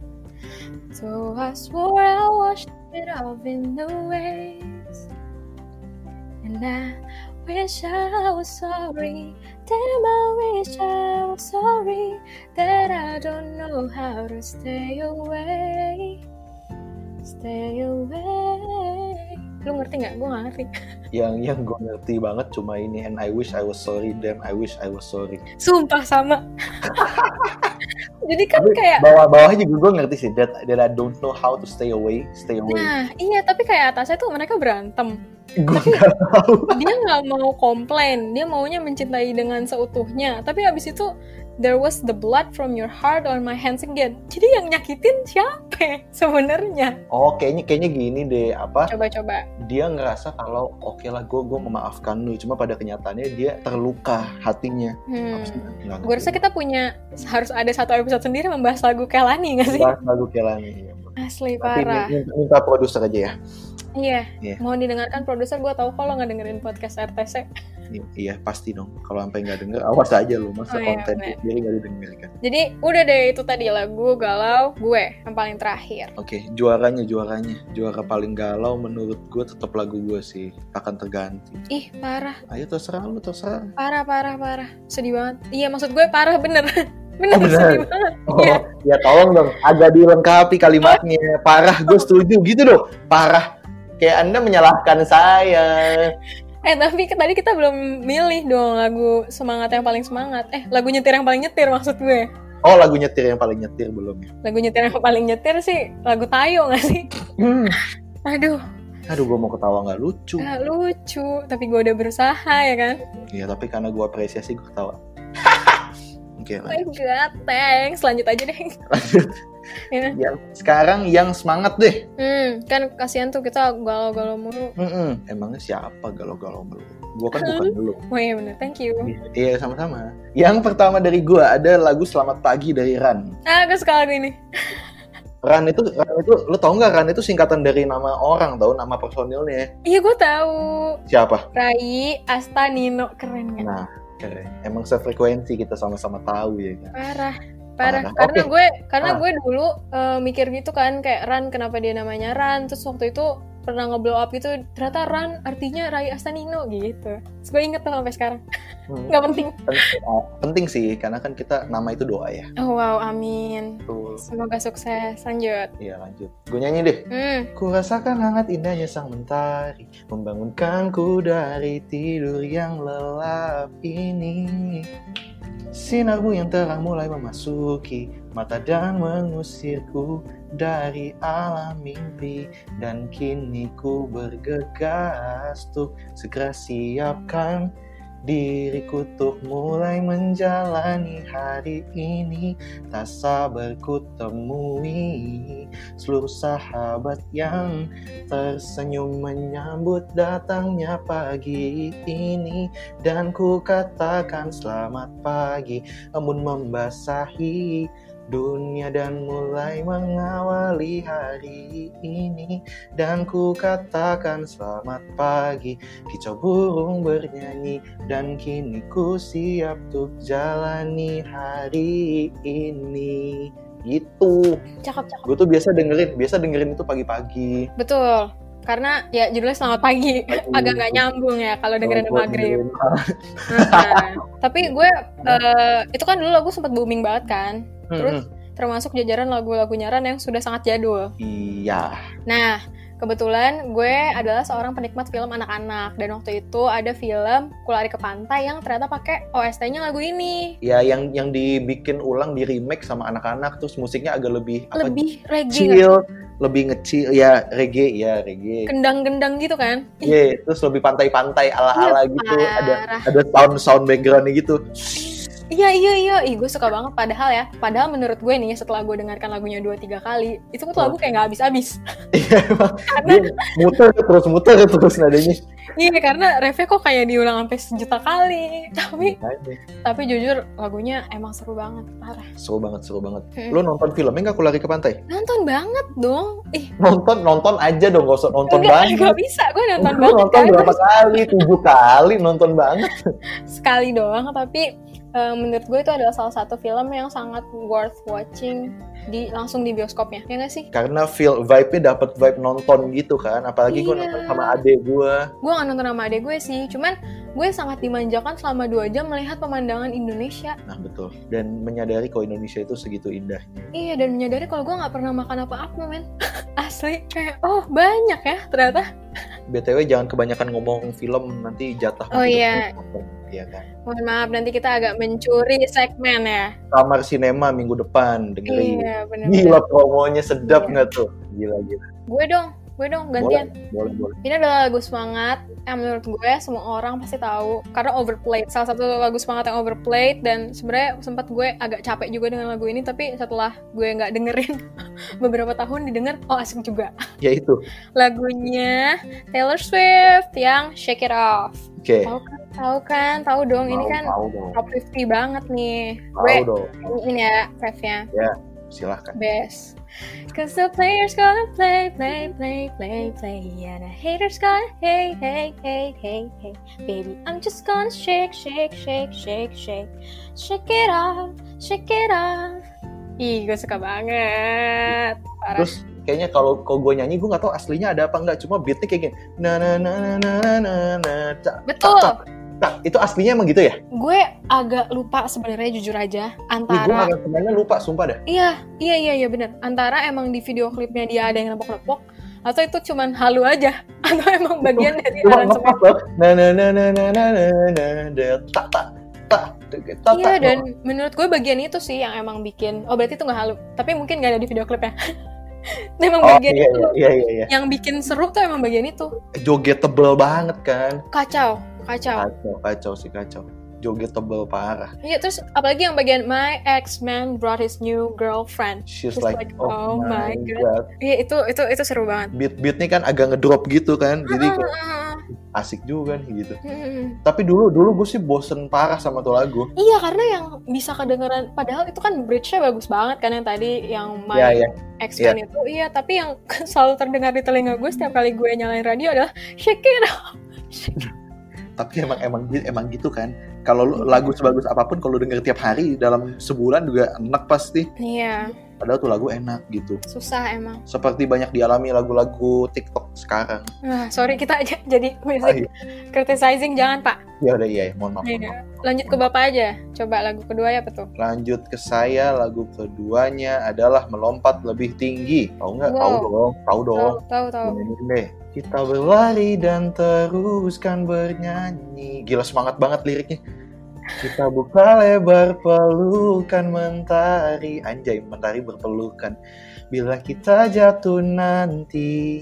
[SPEAKER 2] So I swore I washed it off in the waves. And I wish I was sorry. Damn, I wish I was sorry that I don't know how to stay away. Stay away. Lu ngerti nggak? Gue nggak ngerti.
[SPEAKER 6] Yang yang gue ngerti banget cuma ini. And I wish I was sorry, damn I wish I was sorry.
[SPEAKER 2] Sumpah sama. Jadi kan
[SPEAKER 6] Tapi
[SPEAKER 2] kayak
[SPEAKER 6] bawah-bawahnya juga gue ngerti sih. That, that I don't know how to stay away, stay away.
[SPEAKER 2] Nah, iya tapi kayak atasnya tuh mereka berantem.
[SPEAKER 6] Gue nggak tahu.
[SPEAKER 2] dia nggak mau komplain dia maunya mencintai dengan seutuhnya tapi habis itu there was the blood from your heart on my hands again jadi yang nyakitin siapa ya sebenarnya
[SPEAKER 6] Oh kayaknya kayaknya gini deh apa
[SPEAKER 2] coba-coba
[SPEAKER 6] dia ngerasa kalau oke lah gue gue memaafkan lu cuma pada kenyataannya dia terluka hatinya.
[SPEAKER 2] hmm.
[SPEAKER 6] Apa sih? Nggak
[SPEAKER 2] gue
[SPEAKER 6] ngerti.
[SPEAKER 2] rasa kita punya harus ada satu episode sendiri membahas lagu Kelani nggak sih
[SPEAKER 6] Bahas lagu Kelani. Iya.
[SPEAKER 2] asli
[SPEAKER 6] Nanti
[SPEAKER 2] parah
[SPEAKER 6] minta, minta produser aja ya.
[SPEAKER 2] iya
[SPEAKER 6] Iya.
[SPEAKER 2] mau didengarkan produser gue tahu kalau nggak dengerin podcast RTC
[SPEAKER 6] Iya, iya, pasti dong. Kalau sampai nggak denger awas aja lu
[SPEAKER 2] Oh,
[SPEAKER 6] masa
[SPEAKER 2] iya,
[SPEAKER 6] konten
[SPEAKER 2] bener.
[SPEAKER 6] sendiri nggak kan. didengarkan.
[SPEAKER 2] jadi udah deh itu tadi lagu galau gue yang paling terakhir
[SPEAKER 6] Oke juaranya juaranya juara paling galau menurut gue tetap lagu gue sih akan terganti.
[SPEAKER 2] ih parah
[SPEAKER 6] Ayo terserah lu terserah.
[SPEAKER 2] parah parah parah sedih banget iya maksud gue parah bener bener,
[SPEAKER 6] Oh, bener.
[SPEAKER 2] sedih banget
[SPEAKER 6] Oh,
[SPEAKER 2] Iya.
[SPEAKER 6] ya tolong dong agak dilengkapi kalimatnya. Parah, gue setuju gitu dong. Parah. Kayak Anda menyalahkan saya.
[SPEAKER 2] eh tapi ke- tadi kita belum milih dong lagu semangat yang paling semangat eh lagu nyetir yang paling nyetir maksud gue
[SPEAKER 6] Oh, lagu nyetir yang paling nyetir belum ya?
[SPEAKER 2] lagu nyetir yang paling nyetir sih lagu tayo gak sih aduh
[SPEAKER 6] Aduh, gue mau ketawa nggak lucu.
[SPEAKER 2] gak lucu tapi gue udah berusaha ya kan
[SPEAKER 6] Iya, tapi karena gue apresiasi gue ketawa. Oke,
[SPEAKER 2] oh
[SPEAKER 6] lanjut.
[SPEAKER 2] my god thanks lanjut aja deh Ya.
[SPEAKER 6] Ya, sekarang yang semangat deh.
[SPEAKER 2] hmm kan kasihan tuh kita galau-galau mulu
[SPEAKER 6] Mm-mm. Emangnya siapa galau-galau melu? Gue kan bukan melu.
[SPEAKER 2] oh iya bener thank you
[SPEAKER 6] Iya, sama-sama. Yang pertama dari gue ada lagu Selamat Pagi dari Ran.
[SPEAKER 2] ah gue suka lagu ini
[SPEAKER 6] Ran itu, Ran itu, lu tau nggak Ran itu singkatan dari nama orang tau, nama personilnya.
[SPEAKER 2] iya gue tahu
[SPEAKER 6] Siapa?
[SPEAKER 2] Rai Asta Nino keren kan
[SPEAKER 6] Nah, keren. Emang sefrekuensi kita sama-sama tahu ya kan.
[SPEAKER 2] parah parah
[SPEAKER 6] Parah. kan?
[SPEAKER 2] karena
[SPEAKER 6] Oke. Ah.
[SPEAKER 2] gue karena
[SPEAKER 6] Parah.
[SPEAKER 2] gue dulu eh, mikir gitu kan kayak Ran kenapa dia namanya Ran terus waktu itu pernah ngeblow up gitu ternyata Ran artinya Rai Astanino gitu terus gue inget tuh sampai sekarang
[SPEAKER 6] Hmm.
[SPEAKER 2] nggak penting
[SPEAKER 6] Pen- oh, penting sih karena kan kita nama itu doa ya.
[SPEAKER 2] oh wow amin
[SPEAKER 6] Betul.
[SPEAKER 2] semoga sukses lanjut
[SPEAKER 6] Iya, lanjut. Gue nyanyi deh.
[SPEAKER 2] hmm
[SPEAKER 6] Ku rasakan hangat indahnya sang mentari Membangunkanku dari tidur yang lelap ini Sinarmu yang terang mulai memasuki mata dan mengusirku dari alam mimpi Dan kini ku bergegas tuh segera siapkan diriku tuh mulai menjalani hari ini Tak sabar ku temui seluruh sahabat yang tersenyum menyambut datangnya pagi ini dan ku katakan selamat pagi embun membasahi dunia dan mulai mengawali hari ini dan ku katakan selamat pagi kicau burung bernyanyi dan kini ku siap untuk jalani hari ini gitu
[SPEAKER 2] cakep cakep
[SPEAKER 6] gue tuh biasa dengerin biasa dengerin itu pagi-pagi
[SPEAKER 2] betul karena ya judulnya selamat pagi
[SPEAKER 6] Aduh.
[SPEAKER 2] agak nggak nyambung ya kalau dengerin
[SPEAKER 6] Kalau gua
[SPEAKER 2] maghrib
[SPEAKER 6] dengerin, ah,
[SPEAKER 2] Nah, tapi gue eh, itu kan dulu lagu sempat booming banget kan Terus?
[SPEAKER 6] mm-mm.
[SPEAKER 2] termasuk jajaran lagu-lagu nyaran yang sudah sangat jadul
[SPEAKER 6] iya
[SPEAKER 2] Nah, kebetulan gue adalah seorang penikmat film anak-anak dan waktu itu ada film Kulari ke Pantai yang ternyata pakai OST-nya lagu ini.
[SPEAKER 6] ya yang yang dibikin ulang di remake sama anak-anak terus musiknya agak lebih apa
[SPEAKER 2] Lebih reggae nggak sih?
[SPEAKER 6] chill lebih ngecil ya reggae ya reggae
[SPEAKER 2] kendang-gendang gitu kan. Ih,
[SPEAKER 6] Iya, terus lebih pantai-pantai ala-ala
[SPEAKER 2] Iya,
[SPEAKER 6] gitu, ada
[SPEAKER 2] parah.
[SPEAKER 6] ada sound sound backgroundnya gitu.
[SPEAKER 2] Iya, iya, iya. Ih, gue suka banget padahal ya. Padahal menurut gue nih setelah gue dengarkan lagunya 2 3 kali, itu tuh
[SPEAKER 6] Oh.
[SPEAKER 2] lagu kayak nggak habis-habis.
[SPEAKER 6] Iya, emang.
[SPEAKER 2] karena
[SPEAKER 6] Dia muter
[SPEAKER 1] ya
[SPEAKER 6] terus muter terus nadanya.
[SPEAKER 2] iya, karena refnya kok kayak diulang sampai sejuta kali. Tapi tapi jujur lagunya emang seru banget, parah.
[SPEAKER 6] Seru banget, seru banget.
[SPEAKER 2] Mm.
[SPEAKER 6] Lu nonton filmnya nggak? Aku lari ke pantai.
[SPEAKER 2] Nonton banget dong. Ih,
[SPEAKER 6] Nonton, nonton aja dong, gak usah nonton
[SPEAKER 2] enggak,
[SPEAKER 6] banget.
[SPEAKER 2] enggak bisa. Gue nonton
[SPEAKER 6] Lu
[SPEAKER 2] banget.
[SPEAKER 6] nonton
[SPEAKER 2] kan.
[SPEAKER 6] berapa kali? Tujuh kali nonton banget.
[SPEAKER 2] sekali doang tapi eh, menurut gue itu adalah salah satu film yang sangat worth watching di langsung di bioskopnya ya nggak sih
[SPEAKER 6] Karena feel vibe-nya dapat vibe nonton gitu kan. Apalagi gue
[SPEAKER 2] Iya.
[SPEAKER 6] nonton sama adek gue.
[SPEAKER 2] gue nggak nonton sama adek gue sih cuman gue sangat dimanjakan selama dua jam melihat pemandangan Indonesia
[SPEAKER 6] Nah betul. Dan menyadari kalau Indonesia itu segitu indah.
[SPEAKER 2] iya dan menyadari kalau gue nggak pernah makan apa-apa men asli kayak oh banyak ya ternyata
[SPEAKER 6] BTW jangan kebanyakan ngomong film nanti jatah.
[SPEAKER 2] Oh,
[SPEAKER 6] mungkin
[SPEAKER 2] iya.
[SPEAKER 6] udah nonton. Iya kan.
[SPEAKER 2] mohon maaf nanti kita agak mencuri segmen ya
[SPEAKER 6] Kamar sinema minggu depan dengerin.
[SPEAKER 2] iya benar
[SPEAKER 6] Gila promonya sedap nggak tuh? Gila gila.
[SPEAKER 2] gue dong Gue dong
[SPEAKER 1] Boleh,
[SPEAKER 2] gantian.
[SPEAKER 1] boleh, boleh.
[SPEAKER 2] Ini adalah lagu semangat yang menurut gue semua orang pasti tahu karena overplayed. Salah satu lagu semangat yang overplayed dan sebenarnya sempat gue agak capek juga dengan lagu ini tapi setelah gue nggak dengerin beberapa tahun didengar oh asik juga.
[SPEAKER 1] Ya itu.
[SPEAKER 2] Lagunya Taylor Swift yang Shake It Off.
[SPEAKER 1] Oke.
[SPEAKER 2] Tahu kan? Tahu kan? Tahu dong ini
[SPEAKER 1] Mau-
[SPEAKER 2] kan
[SPEAKER 1] mau dong.
[SPEAKER 2] top 50 banget nih. Gue
[SPEAKER 1] Mau dong.
[SPEAKER 2] nyanyiin ya ref-nya.
[SPEAKER 1] Silahkan.
[SPEAKER 2] Best. Cause the players gonna play, play, play, play, play. And the haters gonna hey, hey, hey, hey, hey. Baby, I'm just gonna shake, shake, shake, shake, shake. Shake it off, shake it off. Ih, gue suka banget. Parah.
[SPEAKER 1] Terus kayaknya kalau kalau gue nyanyi gue nggak tahu aslinya ada apa nggak cuma beatnya kayak gini na na na na na na na na tak
[SPEAKER 2] Betul.
[SPEAKER 1] tak, tak. itu aslinya emang gitu ya?
[SPEAKER 2] Gue agak lupa sebenarnya jujur aja
[SPEAKER 1] Ih, gue
[SPEAKER 2] antara
[SPEAKER 1] nggak kemana lupa sumpah dah.
[SPEAKER 2] Iya, iya, iya, iya bener. Antara emang di video klipnya dia ada yang nepok-nepok, atau itu cuman halu aja, atau emang bagian dari
[SPEAKER 1] Cuma
[SPEAKER 2] aransemen
[SPEAKER 1] ngepas loh. Na na na na na na na na na tak tak tak tak tak.
[SPEAKER 2] Iya dan menurut gue bagian itu sih yang emang bikin oh berarti itu nggak halu tapi mungkin nggak ada di video klipnya. emang
[SPEAKER 1] Oh,
[SPEAKER 2] bagian
[SPEAKER 1] iya,
[SPEAKER 2] itu
[SPEAKER 1] iya, iya, iya, iya.
[SPEAKER 2] yang bikin seru tuh emang bagian itu
[SPEAKER 1] Joget tebel banget kan.
[SPEAKER 2] kacau kacau.
[SPEAKER 1] Kacau, kacau sih kacau. Joget tebel parah.
[SPEAKER 2] Iya terus apalagi yang bagian my ex man brought his new girlfriend.
[SPEAKER 1] She's
[SPEAKER 2] She's
[SPEAKER 1] like,
[SPEAKER 2] like,
[SPEAKER 1] oh, my god.
[SPEAKER 2] Iya itu itu itu seru banget.
[SPEAKER 1] Beat beatnya kan agak ngedrop gitu kan. Jadi
[SPEAKER 2] Ah,
[SPEAKER 1] kayak
[SPEAKER 2] ah, ah.
[SPEAKER 1] asik juga nih gitu.
[SPEAKER 2] Hmm.
[SPEAKER 1] Tapi dulu dulu gue sih bosen parah sama tuh lagu.
[SPEAKER 2] Iya karena yang bisa kedengeran padahal itu kan bridge-nya bagus banget kan yang tadi yang my
[SPEAKER 1] Ya ya.
[SPEAKER 2] X-Men itu iya tapi yang selalu terdengar di telinga gue setiap kali gue nyalain radio adalah shake it off
[SPEAKER 1] Tapi emang emang gi- emang gitu kan. Kalau
[SPEAKER 2] Iya.
[SPEAKER 1] lu- lagu sebagus apapun kalau lu denger tiap hari dalam sebulan juga enak pasti.
[SPEAKER 2] iya
[SPEAKER 1] Padahal tuh lagu enak gitu.
[SPEAKER 2] susah emang
[SPEAKER 1] Seperti banyak dialami lagu-lagu TikTok sekarang.
[SPEAKER 2] nah, sorry kita aja jadi
[SPEAKER 1] Oh,
[SPEAKER 2] music
[SPEAKER 1] iya.
[SPEAKER 2] criticizing jangan pak
[SPEAKER 1] Ya udah iya, iya. mohon maaf. mohon maaf.
[SPEAKER 2] Iya. lanjut ke bapak aja coba lagu kedua ya betul
[SPEAKER 1] Lanjut ke saya lagu keduanya adalah melompat lebih tinggi. Tahu nggak? Tahu
[SPEAKER 2] Wow.
[SPEAKER 1] dong, tahu dong.
[SPEAKER 2] tahu tahu tahu
[SPEAKER 1] Ini deh. Kita berlari dan teruskan bernyanyi. Gila semangat banget liriknya. Kita buka lebar pelukan mentari. Anjay, mentari berpelukan. Bila kita jatuh nanti,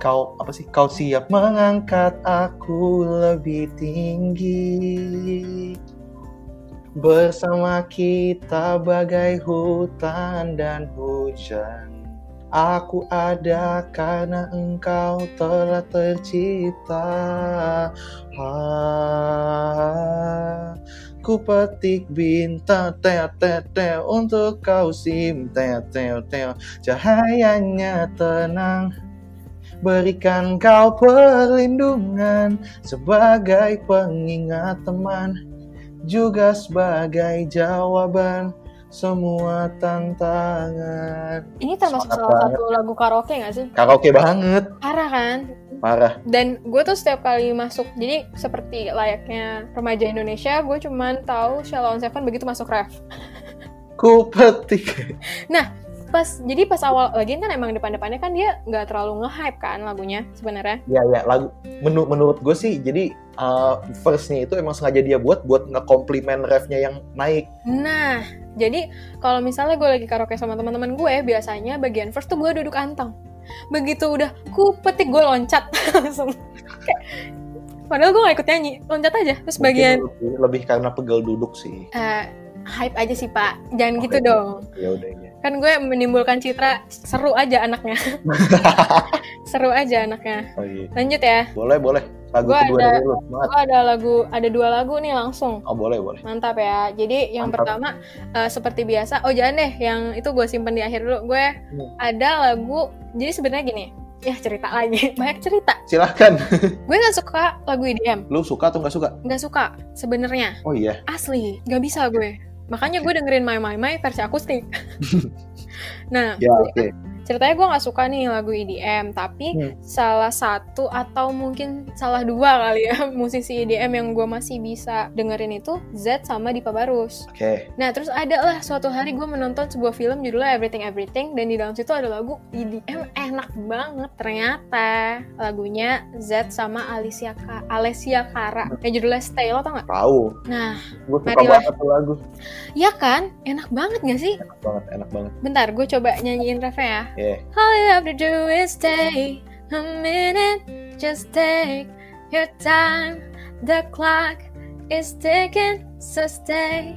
[SPEAKER 1] kau apa sih? Kau siap mengangkat aku lebih tinggi. Bersama kita bagai hutan dan hujan. Aku ada karena engkau telah tercipta. Ah, ku petik bintang teo teo teo untuk kau sim teo teo teo cahayanya tenang berikan kau perlindungan sebagai pengingat teman juga sebagai jawaban semua tantangan
[SPEAKER 2] ini termasuk
[SPEAKER 1] Semangat
[SPEAKER 2] salah
[SPEAKER 1] banget.
[SPEAKER 2] satu lagu karaoke nggak sih
[SPEAKER 1] karaoke banget
[SPEAKER 2] parah kan
[SPEAKER 1] parah
[SPEAKER 2] dan gue tuh setiap kali masuk jadi seperti layaknya remaja Indonesia gue cuman tahu Sheila on Seven begitu masuk ref
[SPEAKER 1] ku petik
[SPEAKER 2] pas jadi pas awal lagi kan emang depan-depannya kan dia nggak terlalu nge-hype kan lagunya sebenarnya
[SPEAKER 1] ya ya lagu menu- menurut gue sih jadi uh, verse-nya itu emang sengaja dia buat buat ngekomplimen refnya yang naik
[SPEAKER 2] nah jadi kalau misalnya gue lagi karaoke sama teman-teman gue biasanya bagian first tuh gue duduk anteng begitu udah ku petik gue loncat langsung Kayak, padahal gue gak ikut nyanyi loncat aja terus bagian
[SPEAKER 1] Mungkin lebih, lebih karena pegel duduk sih
[SPEAKER 2] eh, hype aja sih pak jangan
[SPEAKER 1] Oke.
[SPEAKER 2] gitu dong
[SPEAKER 1] ya udah ya
[SPEAKER 2] kan gue menimbulkan citra seru aja anaknya seru aja anaknya
[SPEAKER 1] Oh, iya.
[SPEAKER 2] lanjut ya
[SPEAKER 1] boleh boleh lagu
[SPEAKER 2] Gua
[SPEAKER 1] kedua
[SPEAKER 2] ada-
[SPEAKER 1] dari lu semangat
[SPEAKER 2] gue ada lagu ada dua lagu nih langsung
[SPEAKER 1] oh boleh boleh
[SPEAKER 2] Mantap ya. Jadi yang
[SPEAKER 1] Mantap.
[SPEAKER 2] pertama eh, seperti biasa. Oh jangan deh, yang itu gue simpen di akhir dulu. Gue
[SPEAKER 1] Hmm.
[SPEAKER 2] ada lagu. Jadi sebenarnya gini, ya cerita lagi. Banyak cerita.
[SPEAKER 1] silahkan
[SPEAKER 2] Gue nggak suka lagu EDM.
[SPEAKER 1] lu suka atau nggak suka
[SPEAKER 2] Nggak suka sebenarnya.
[SPEAKER 1] oh iya
[SPEAKER 2] Asli, nggak bisa gue. Makanya gue dengerin My My My versi akustik. nah,
[SPEAKER 1] ya oke
[SPEAKER 2] ceritanya gue nggak suka nih lagu EDM tapi
[SPEAKER 1] Hmm.
[SPEAKER 2] salah satu atau mungkin salah dua kali ya musisi EDM yang gue masih bisa dengerin itu Z sama Dipa Barus
[SPEAKER 1] oke
[SPEAKER 2] Nah, terus ada lah suatu hari gue menonton sebuah film judulnya Everything Everything dan di dalam situ ada lagu EDM enak banget ternyata. Lagunya Z sama Alicia Ka Alessia Cara yang judulnya Stay lo tau gak?
[SPEAKER 1] tahu
[SPEAKER 2] Nah,
[SPEAKER 1] gue suka
[SPEAKER 2] Marilah.
[SPEAKER 1] banget tuh lagu
[SPEAKER 2] ya kan? Enak banget gak sih?
[SPEAKER 1] enak banget enak banget
[SPEAKER 2] Bentar, gue coba nyanyiin refnya ya.
[SPEAKER 1] ya
[SPEAKER 2] All you have to do is stay A minute, just take your time. The clock is ticking, so stay.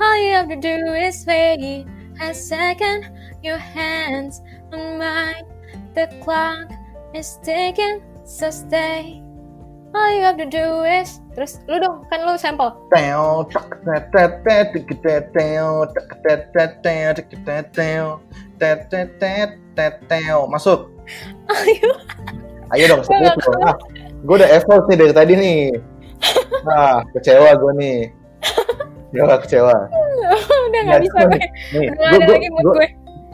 [SPEAKER 2] All you have to do is wait a second. Your hands on mine. The clock is ticking, so stay. All you have to do is terus lu dong kan lu sampel
[SPEAKER 1] Teo, tak, tet, tet, tet, tik, tet, teo, tak, tet, tet, teo, tik, tet, teo, tet, tet, tet, tet, teo. Masuk.
[SPEAKER 2] ayo
[SPEAKER 1] Ayo dong,
[SPEAKER 2] Gua
[SPEAKER 1] serius
[SPEAKER 2] nggak
[SPEAKER 1] dong. Ah, gue udah effort nih dari tadi nih. Nah, kecewa gue nih. Gila, kecewa.
[SPEAKER 2] udah nggak bisa gue
[SPEAKER 1] Nih,
[SPEAKER 2] udah nggak ada lagi mood gue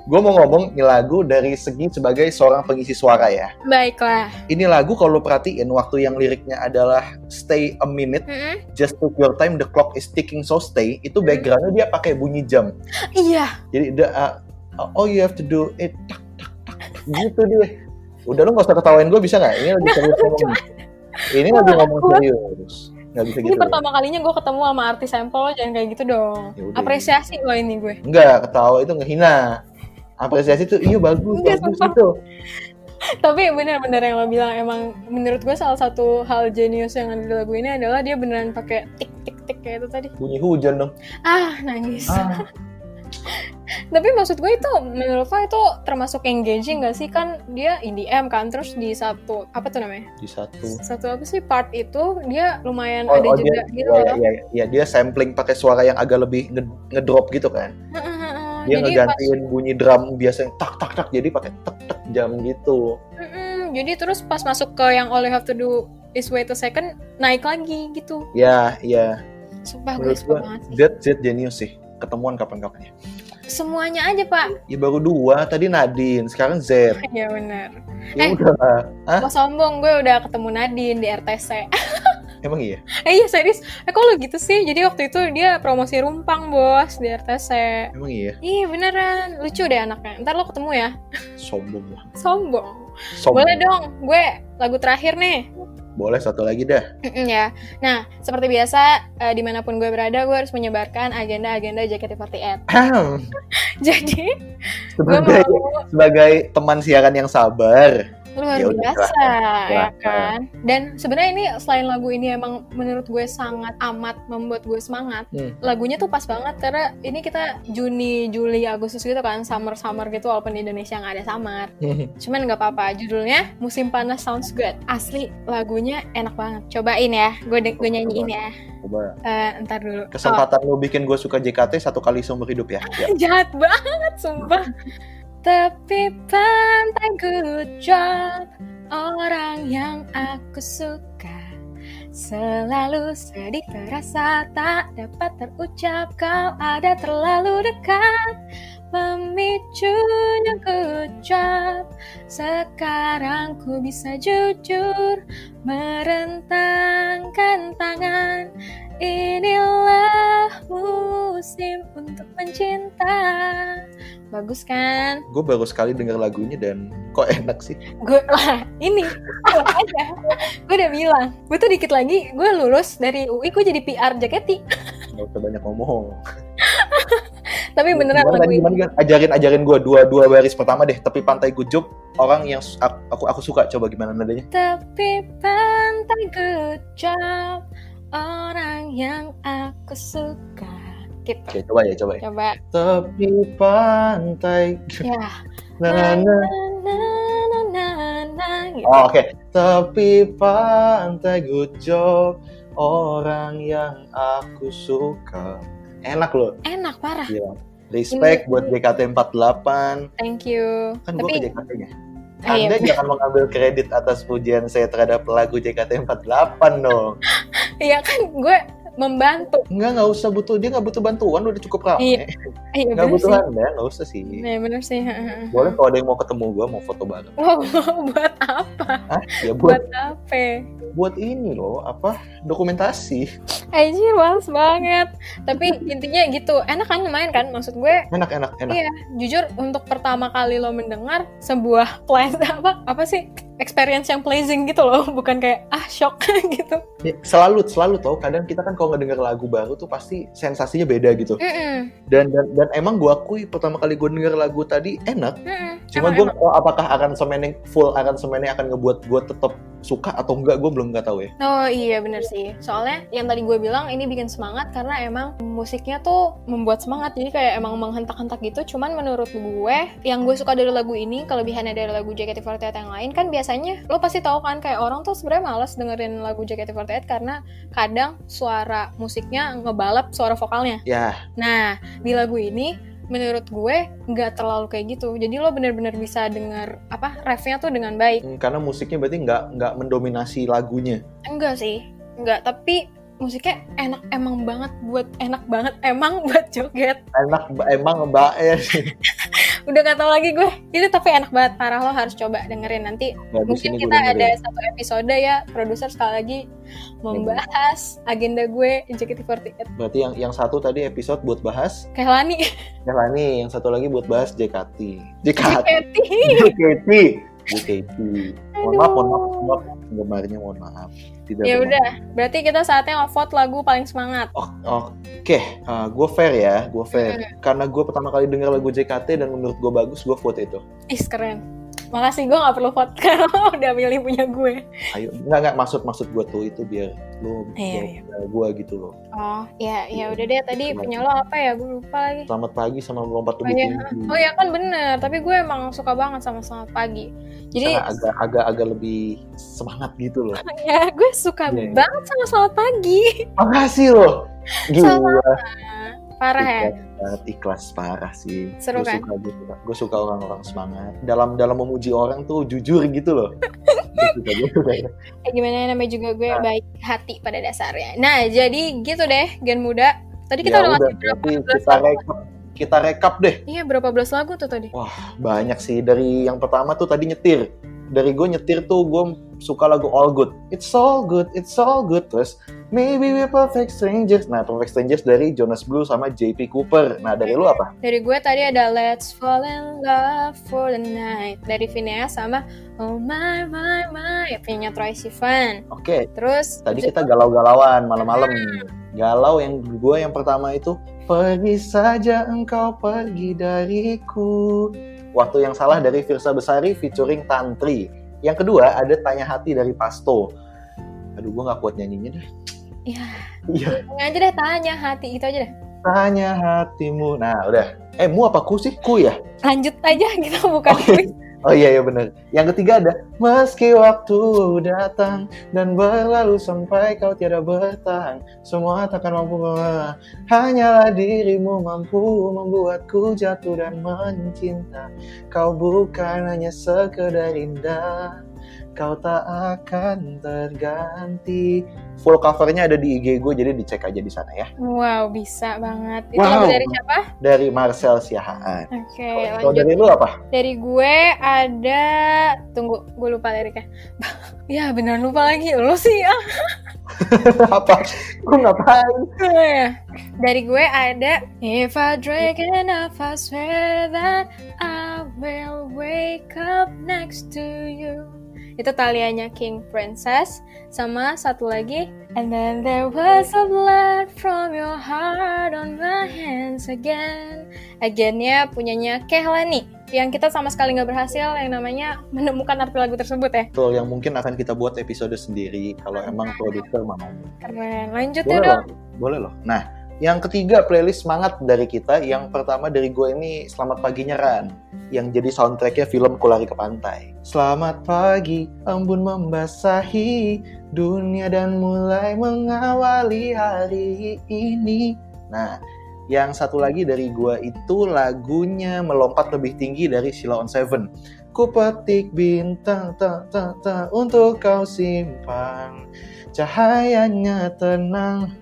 [SPEAKER 1] gue mau ngomong ini lagu dari segi sebagai seorang pengisi suara ya.
[SPEAKER 2] baiklah
[SPEAKER 1] Ini lagu kalau lo perhatiin waktu yang liriknya adalah stay a minute,
[SPEAKER 2] Mm-mm.
[SPEAKER 1] just take your time, the clock is ticking so stay. Itu backgroundnya dia pakai bunyi jam.
[SPEAKER 2] iya
[SPEAKER 1] Jadi the, uh, uh, all you have to do it tak tak tak, tak gitu dia. Udah lu gak usah ketawain gue bisa nggak? Ini lagi serius ngomong. Ini lagi ngomong
[SPEAKER 2] Gua-
[SPEAKER 1] serius. Gak bisa
[SPEAKER 2] ini
[SPEAKER 1] gitu. ya.
[SPEAKER 2] pertama kalinya gue ketemu sama artis sampel lo jangan kayak gitu dong
[SPEAKER 1] Ya udah.
[SPEAKER 2] apresiasi lo ini gue
[SPEAKER 1] Enggak, ketawa itu ngehina. Apresiasi tuh iya bagus,
[SPEAKER 2] Enggak,
[SPEAKER 1] bagus
[SPEAKER 2] sumpah.
[SPEAKER 1] itu.
[SPEAKER 2] tapi bener-bener yang lo bilang emang menurut gue salah satu hal jenius yang ada di lagu ini adalah dia beneran pakai tik tik tik kayak itu tadi
[SPEAKER 1] Bunyi hujan dong.
[SPEAKER 2] ah nangis
[SPEAKER 1] Ah,
[SPEAKER 2] tapi maksud gue itu menurut lo itu termasuk engaging gak sih kan dia IDM kan terus di satu apa tuh namanya
[SPEAKER 1] di satu.
[SPEAKER 2] satu apa sih part itu dia lumayan
[SPEAKER 1] Oh,
[SPEAKER 2] ada
[SPEAKER 1] oh,
[SPEAKER 2] jeda
[SPEAKER 1] dia,
[SPEAKER 2] gitu
[SPEAKER 1] ya, ya,
[SPEAKER 2] loh
[SPEAKER 1] ya, ya, dia sampling pakai suara yang agak lebih nge- ngedrop gitu kan. Dia
[SPEAKER 2] Nah, jadi pas
[SPEAKER 1] ngegantiin bunyi drum biasanya tak tak tak jadi pakai tek tek jam gitu.
[SPEAKER 2] Mm-mm, jadi terus pas masuk ke yang all you have to do is wait a second naik lagi gitu
[SPEAKER 1] Ya, ya.
[SPEAKER 2] sumpah gue
[SPEAKER 1] Menurut
[SPEAKER 2] suka
[SPEAKER 1] gua
[SPEAKER 2] banget sih.
[SPEAKER 1] Z Z genius sih. Ketemuan kapan-kapan ya.
[SPEAKER 2] semuanya aja pak
[SPEAKER 1] Ya baru dua, tadi Nadine, sekarang Z.
[SPEAKER 2] ya benar
[SPEAKER 1] Ya
[SPEAKER 2] Eh.
[SPEAKER 1] udah. Hah?
[SPEAKER 2] Gak sombong gue udah ketemu Nadine di RTC
[SPEAKER 1] Emang iya?
[SPEAKER 2] eh iya serius eh kok lu gitu sih jadi waktu itu dia promosi rumpang bos di RTC
[SPEAKER 1] Emang iya?
[SPEAKER 2] Ih beneran lucu deh anaknya. Ntar lo ketemu ya.
[SPEAKER 1] Sombong lah.
[SPEAKER 2] Sombong.
[SPEAKER 1] Sombong.
[SPEAKER 2] Boleh dong, gue lagu terakhir nih.
[SPEAKER 1] Boleh satu lagi dah.
[SPEAKER 2] Mm-mm, ya. Nah, seperti biasa eh, dimanapun gue berada, gue harus menyebarkan agenda-agenda JKT48.
[SPEAKER 1] Ahem.
[SPEAKER 2] Jadi gue
[SPEAKER 1] sebagai,
[SPEAKER 2] mau
[SPEAKER 1] sebagai teman siaran yang sabar.
[SPEAKER 2] luar
[SPEAKER 1] Ya udah,
[SPEAKER 2] biasa
[SPEAKER 1] silahkan,
[SPEAKER 2] ya
[SPEAKER 1] silahkan.
[SPEAKER 2] kan. Dan sebenarnya ini selain lagu ini emang menurut gue sangat amat membuat gue semangat.
[SPEAKER 1] Hmm.
[SPEAKER 2] Lagunya tuh pas banget karena ini kita Juni, Juli, Agustus gitu kan summer-summer gitu walaupun di Indonesia nggak ada summer.
[SPEAKER 1] Hmm.
[SPEAKER 2] Cuman nggak apa-apa, judulnya Musim Panas Sounds Good. Asli, lagunya enak banget. Cobain ya, gue de- gue nyanyiin ya.
[SPEAKER 1] Coba.
[SPEAKER 2] Eh, ntar dulu. Oh,
[SPEAKER 1] Kesempatan lo bikin gue suka JKT satu kali seumur hidup ya. Ya.
[SPEAKER 2] jahat banget, sumpah. Tapi pantai good job, orang yang aku suka. Selalu sedih terasa tak dapat terucap Kau ada terlalu dekat Memicunya kecap Sekarang ku bisa jujur Merentangkan tangan Inilah musim untuk mencinta Bagus kan?
[SPEAKER 1] Gue baru sekali denger lagunya dan kok enak sih.
[SPEAKER 2] gue lah ini gue aja gue udah bilang gue tuh dikit lagi gue lulus dari UI gue jadi PR jaketi
[SPEAKER 1] Gak usah banyak ngomong.
[SPEAKER 2] tapi beneran
[SPEAKER 1] Gimana
[SPEAKER 2] lagu
[SPEAKER 1] tadi,
[SPEAKER 2] ini
[SPEAKER 1] gimana, gimana? Ajarin ajarin gue dua dua baris pertama deh. Tapi pantai gujub orang yang su- aku aku, aku suka coba gimana nadanya.
[SPEAKER 2] tapi pantai good job orang yang aku suka gitu
[SPEAKER 1] Oke coba ya coba ya.
[SPEAKER 2] coba
[SPEAKER 1] Tepi pantai.
[SPEAKER 2] ya
[SPEAKER 1] Na, na,
[SPEAKER 2] na na na na gitu.
[SPEAKER 1] Oh, Oke, tepi pantai good job orang yang aku suka. Enak loh,
[SPEAKER 2] enak parah
[SPEAKER 1] gila. Respect buat JKT48.
[SPEAKER 2] thank you
[SPEAKER 1] Kan gue ke
[SPEAKER 2] tapi
[SPEAKER 1] JKT-nya.
[SPEAKER 2] Ah,
[SPEAKER 1] Anda
[SPEAKER 2] iya,
[SPEAKER 1] jangan mengambil kredit atas pujian saya terhadap lagu JKT48 dong.
[SPEAKER 2] iya kan gue membantu
[SPEAKER 1] Enggak, nggak usah butuh. Dia nggak butuh bantuan, udah cukup ramai.
[SPEAKER 2] Iya, Eh, iya
[SPEAKER 1] Nggak
[SPEAKER 2] bener
[SPEAKER 1] butuh
[SPEAKER 2] sih
[SPEAKER 1] Anda, Nah, nggak usah sih.
[SPEAKER 2] Iya bener sih
[SPEAKER 1] Boleh kalau ada yang mau ketemu gue, mau foto bareng.
[SPEAKER 2] Wow, Oh, buat apa?
[SPEAKER 1] Hah? Ya buat,
[SPEAKER 2] Buat apa?
[SPEAKER 1] buat ini loh, apa, dokumentasi.
[SPEAKER 2] Anjir, males banget. Tapi intinya gitu, enak kan lumayan kan? Maksud gue,
[SPEAKER 1] Enak, enak, enak.
[SPEAKER 2] iya, jujur untuk pertama kali lo mendengar sebuah playlist apa apa sih experience yang pleasing gitu loh, bukan kayak ah shock gitu.
[SPEAKER 6] Ya, selalu selalu tau kadang kita kan kalau ngedenger lagu baru tuh pasti sensasinya beda gitu
[SPEAKER 2] Mm-mm,
[SPEAKER 6] dan dan, dan emang gue akui pertama kali gue denger lagu tadi enak
[SPEAKER 2] mm-mm.
[SPEAKER 6] cuma
[SPEAKER 2] Emang-
[SPEAKER 6] gue
[SPEAKER 2] emang.
[SPEAKER 6] nggak tahu apakah akan semennya full akan semennya akan ngebuat gue tetap suka atau enggak gue belum nggak tahu ya
[SPEAKER 2] Oh iya bener sih Soalnya yang tadi gue bilang ini bikin semangat Karena emang musiknya tuh membuat semangat Jadi kayak emang menghentak-hentak gitu Cuman menurut gue Yang gue suka dari lagu ini Kelebihannya dari lagu JKT48 yang lain Kan biasanya lo pasti tahu kan Kayak orang tuh sebenarnya males dengerin lagu JKT48 Karena kadang suara musiknya ngebalap suara vokalnya
[SPEAKER 6] ya
[SPEAKER 2] Nah di lagu ini menurut gue nggak terlalu kayak gitu jadi lo bener-bener bisa denger apa refnya tuh dengan baik
[SPEAKER 6] Hmm, karena musiknya berarti nggak nggak mendominasi lagunya
[SPEAKER 2] Enggak sih, enggak. Tapi musiknya enak emang banget buat enak banget emang buat joget.
[SPEAKER 6] enak ba- emang mbak eh
[SPEAKER 2] Udah gak tau lagi gue. Itu tapi enak banget parah lo harus coba dengerin nanti.
[SPEAKER 6] Nah, di
[SPEAKER 2] Mungkin
[SPEAKER 6] sini
[SPEAKER 2] kita
[SPEAKER 6] gua dengerin.
[SPEAKER 2] ada satu episode ya produser sekali lagi membahas agenda gue JKT48.
[SPEAKER 6] berarti yang yang satu tadi episode buat bahas
[SPEAKER 2] Kehlani
[SPEAKER 6] Melani Ya, yang satu lagi buat bahas JKT JKT
[SPEAKER 2] JKT.
[SPEAKER 6] Iya, JKT JKT mohon maaf mohon maaf
[SPEAKER 2] Aduh.
[SPEAKER 6] mohon maaf penggemarnya mohon maaf tidak
[SPEAKER 2] Ya
[SPEAKER 6] bermaksud.
[SPEAKER 2] udah, berarti kita saatnya ngevote lagu paling semangat.
[SPEAKER 6] Oh. O- Oke, gue fair ya, gue fair. Karena gue pertama kali denger lagu JKT dan menurut gue bagus, gue vote itu.
[SPEAKER 2] Ih keren. Makasih gue gak perlu vote karena lo udah milih punya gue.
[SPEAKER 6] Ayo, nggak nggak maksud maksud gue tuh itu biar lo
[SPEAKER 2] Iya, iya.
[SPEAKER 6] gue gitu loh.
[SPEAKER 2] Oh, ya ya udah deh tadi punya lo apa ya? Gue lupa lagi.
[SPEAKER 6] Selamat pagi sama melompat
[SPEAKER 2] Oh,
[SPEAKER 6] lebih
[SPEAKER 2] iya.
[SPEAKER 6] tinggi.
[SPEAKER 2] Oh ya kan bener, tapi gue emang suka banget sama selamat pagi. Jadi
[SPEAKER 6] Karena agak agak agak lebih semangat gitu loh.
[SPEAKER 2] ya gue suka
[SPEAKER 6] Iya, iya.
[SPEAKER 2] banget sama selamat pagi.
[SPEAKER 6] Makasih loh. Gila,
[SPEAKER 2] Parah ya.
[SPEAKER 6] ikhlas, banget, ikhlas parah sih.
[SPEAKER 2] Seru
[SPEAKER 6] Gua
[SPEAKER 2] kan?
[SPEAKER 6] Suka, gitu. gue suka, gua suka orang-orang semangat. Dalam dalam memuji orang tuh jujur gitu loh. Gitu Gua suka, gua suka.
[SPEAKER 2] Eh, gimana namanya juga gue
[SPEAKER 6] Ah.
[SPEAKER 2] baik hati pada dasarnya. Nah jadi gitu deh Gen Muda. Tadi kita
[SPEAKER 6] Ya
[SPEAKER 2] udah
[SPEAKER 6] udah,
[SPEAKER 2] ngasih berapa
[SPEAKER 6] berarti
[SPEAKER 2] belas
[SPEAKER 6] kita
[SPEAKER 2] lagu?
[SPEAKER 6] rekap, kita rekap deh.
[SPEAKER 2] Iya berapa belas lagu tuh
[SPEAKER 6] Ya.
[SPEAKER 2] tadi?
[SPEAKER 6] Banyak sih. Dari yang pertama tuh tadi nyetir. Dari gue nyetir tuh gue suka lagu All Good. It's all good, it's all good. Terus Maybe We're Perfect Strangers. Nah, Perfect Strangers dari Jonas Blue sama JP Cooper. Nah, dari lu apa?
[SPEAKER 2] Dari gue tadi ada Let's Fall in Love for the Night dari Vinea sama Oh My My My punya Troy Sivan.
[SPEAKER 6] Oke,
[SPEAKER 2] Terus
[SPEAKER 6] tadi kita galau-galauan malam-malam.
[SPEAKER 2] Hmm.
[SPEAKER 6] Galau yang gue yang pertama itu Pergi saja engkau pergi dariku. Waktu yang salah dari Virsa Besari featuring Tantri. Yang kedua ada Tanya Hati dari Pasto. Aduh, gue gak kuat nyanyinya deh.
[SPEAKER 2] Iya.
[SPEAKER 6] Iya.
[SPEAKER 2] aja deh tanya hati itu aja deh.
[SPEAKER 6] Tanya hatimu. Nah, udah. Eh, mu apa ku sih? Ku ya?
[SPEAKER 2] lanjut aja kita bukan quiz.
[SPEAKER 6] Oh iya, iya bener. Yang ketiga ada, meski waktu datang dan berlalu sampai kau tiada bertahan, semua takkan mampu mengalah. Hanyalah dirimu mampu membuatku jatuh dan mencinta. Kau bukan hanya sekedar indah, kau tak akan terganti. Full covernya ada di IG gue, jadi dicek aja di sana ya.
[SPEAKER 2] Wow, bisa banget. Itu lagu
[SPEAKER 6] Wow.
[SPEAKER 2] dari siapa?
[SPEAKER 6] Dari Marcel Siahaan.
[SPEAKER 2] Oke,
[SPEAKER 6] Kalau
[SPEAKER 2] lanjut.
[SPEAKER 6] dari lu apa?
[SPEAKER 2] Dari gue ada tunggu, gue lupa liriknya. ya, beneran lupa lagi. Lu sih ah.
[SPEAKER 6] apa? Gue ngapain?
[SPEAKER 2] Dari gue ada If I drink enough, I swear that I will wake up next to you. Itu taliannya King Princess sama satu lagi And then there was a blood from your heart on my hands again. Againnya punyanya Kehlani yang kita sama sekali nggak berhasil yang namanya menemukan arti lagu tersebut ya.
[SPEAKER 6] Betul, yang mungkin akan kita buat episode sendiri kalau emang produser mau.
[SPEAKER 2] Keren. Lanjut ya
[SPEAKER 6] Boleh
[SPEAKER 2] dong.
[SPEAKER 6] loh, boleh loh. Nah, yang ketiga playlist semangat dari kita. Yang pertama dari gue ini Selamat Pagi Nyeran yang jadi soundtracknya film Kulari ke Pantai. Selamat pagi, embun membasahi dunia dan mulai mengawali hari ini. Nah, yang satu lagi dari gua itu lagunya melompat lebih tinggi dari Sheila on Seven. Ku petik bintang tak tak tak untuk kau simpan cahayanya tenang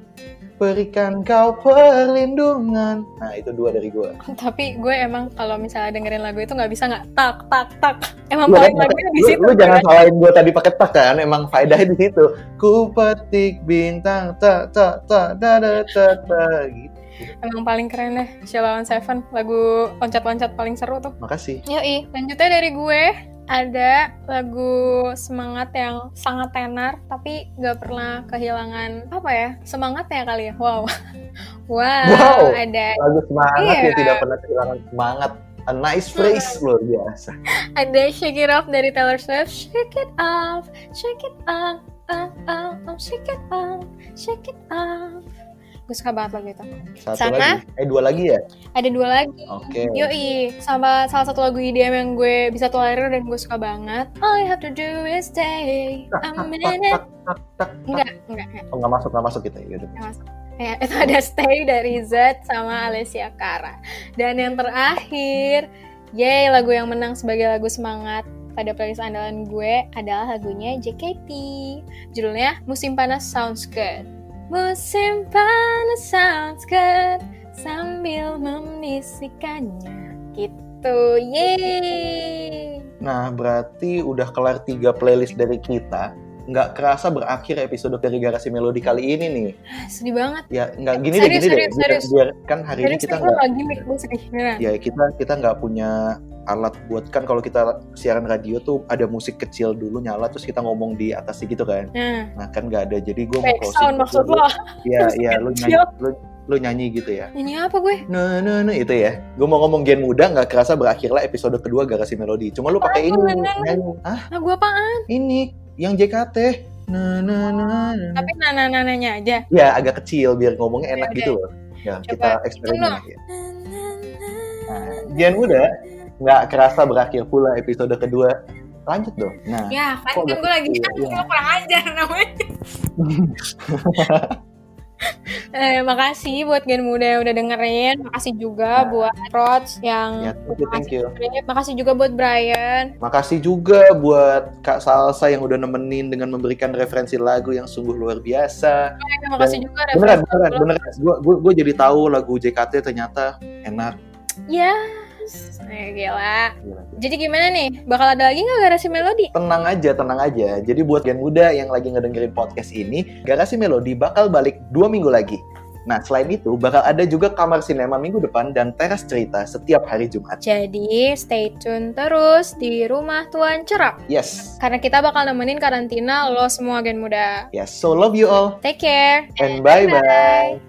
[SPEAKER 6] berikan kau perlindungan nah itu dua dari gue
[SPEAKER 2] tapi gue emang kalau misalnya dengerin lagu itu nggak bisa nggak tak tak tak emang
[SPEAKER 6] lu,
[SPEAKER 2] poin
[SPEAKER 6] kan-
[SPEAKER 2] lagunya di
[SPEAKER 6] lu-
[SPEAKER 2] situ
[SPEAKER 6] lu
[SPEAKER 2] kan?
[SPEAKER 6] jangan salahin gue tadi pakai tak kan emang faedahnya di situ ku petik bintang tak tak tak da da ta ta gitu
[SPEAKER 2] emang paling keren deh Sheila on Seven lagu loncat loncat paling seru tuh
[SPEAKER 6] makasih
[SPEAKER 2] yoi lanjutnya dari gue ada lagu semangat yang sangat tenar tapi nggak pernah kehilangan apa ya semangatnya kali ya wow wow,
[SPEAKER 6] Wow.
[SPEAKER 2] ada
[SPEAKER 6] Lagu semangat
[SPEAKER 2] Iya. Hmm.
[SPEAKER 6] ya tidak pernah kehilangan semangat. A nice phrase luar biasa.
[SPEAKER 2] ada shake it off dari Taylor Swift shake it off shake it off off, off, off, shake it off shake it off gue suka banget lagu itu
[SPEAKER 6] Satu
[SPEAKER 2] Sama. Hmm.
[SPEAKER 6] lagi. Eh dua lagi ya?
[SPEAKER 2] ada dua lagi
[SPEAKER 6] Oke.
[SPEAKER 2] Yoi, sama salah satu lagu IDM yang gue bisa tolerir dan gue suka banget. All you have to do is stay a minute. Enggak, enggak, enggak.
[SPEAKER 6] Oh nggak masuk nggak masuk kita gitu.
[SPEAKER 2] Ya, itu ada Stay dari Z sama Alessia Cara. Dan yang terakhir, yay lagu yang menang sebagai lagu semangat pada playlist andalan gue adalah lagunya JKT. Judulnya Musim Panas Sounds Good. Musim panas sounds good sambil memisikannya. Gitu, yeay.
[SPEAKER 6] Nah berarti udah kelar tiga playlist dari kita. Nggak kerasa berakhir episode dari Garasi Melodi kali ini nih.
[SPEAKER 2] Ah, Sedih banget.
[SPEAKER 6] Ya nggak gini deh
[SPEAKER 2] Serius,
[SPEAKER 6] gini
[SPEAKER 2] serius,
[SPEAKER 6] deh. Biar,
[SPEAKER 2] serius.
[SPEAKER 6] biar- kan hari ini
[SPEAKER 2] Jadi
[SPEAKER 6] kita
[SPEAKER 2] kita
[SPEAKER 6] nggak
[SPEAKER 2] lagi mic gue sedih. beneran.
[SPEAKER 6] ya kita kita nggak punya alat buat kan kalau kita siaran radio tuh ada musik kecil dulu nyala terus kita ngomong di atas gitu kan
[SPEAKER 2] Nah,
[SPEAKER 6] nah kan nggak ada jadi gue mau
[SPEAKER 2] background maksud
[SPEAKER 6] dulu.
[SPEAKER 2] lo.
[SPEAKER 6] iya
[SPEAKER 2] Musik
[SPEAKER 6] iya lu nyanyi
[SPEAKER 2] kecil.
[SPEAKER 6] lu, lu nyanyi gitu ya
[SPEAKER 2] Ini apa gue?
[SPEAKER 6] no no no itu ya gue mau ngomong gen muda nggak kerasa berakhirlah episode kedua garasi melodi cuma lu pakai ini
[SPEAKER 2] Apaan lu nyanyi?
[SPEAKER 6] nyanyi ah
[SPEAKER 2] Lagu apaan?
[SPEAKER 6] ini yang JKT na na na na, na.
[SPEAKER 2] Tapi nah, nana-nananya aja.
[SPEAKER 6] ya agak kecil biar ngomongnya enak
[SPEAKER 2] Yaudah.
[SPEAKER 6] gitu loh ya
[SPEAKER 2] Coba
[SPEAKER 6] kita
[SPEAKER 2] hitung
[SPEAKER 6] eksperimen
[SPEAKER 2] dong.
[SPEAKER 6] ya. Gen muda, nggak kerasa berakhir pula episode kedua. Lanjut dong. Nah,
[SPEAKER 2] Ya, kan
[SPEAKER 6] Kok
[SPEAKER 2] kan
[SPEAKER 6] gak
[SPEAKER 2] gue lagi
[SPEAKER 6] kecil?
[SPEAKER 2] Lu kurang ajar namanya. eh, makasih buat Gen Muda yang udah dengerin. Makasih juga
[SPEAKER 6] Nah.
[SPEAKER 2] buat Rods yang
[SPEAKER 6] ya, thank you, thank you.
[SPEAKER 2] dengerin. Makasih juga buat Brian.
[SPEAKER 6] Makasih juga buat Kak Salsa yang udah nemenin dengan memberikan referensi lagu yang sungguh luar biasa.
[SPEAKER 2] Eh, Makasih juga
[SPEAKER 6] Beneran,
[SPEAKER 2] referensi
[SPEAKER 6] beneran,
[SPEAKER 2] lo.
[SPEAKER 6] beneran. Gue gua, gua jadi tahu lagu JKT ternyata enak.
[SPEAKER 2] Yes. Eh, gila.
[SPEAKER 6] Gila.
[SPEAKER 2] Jadi gimana nih? Bakal ada lagi nggak garasi melodi?
[SPEAKER 6] Tenang aja, tenang aja. Jadi buat gen muda yang lagi ngedengerin podcast ini, Garasi Melodi bakal balik dua minggu lagi. Nah, selain itu, bakal ada juga kamar sinema minggu depan dan teras cerita setiap hari Jumat.
[SPEAKER 2] Jadi stay tune terus di rumah Tuan Cerap.
[SPEAKER 6] Yes,
[SPEAKER 2] Karena kita bakal nemenin karantina lo semua Gen Muda.
[SPEAKER 6] Yes, Ya, so love you all
[SPEAKER 2] Take care.
[SPEAKER 6] and bye bye.
[SPEAKER 2] Bye.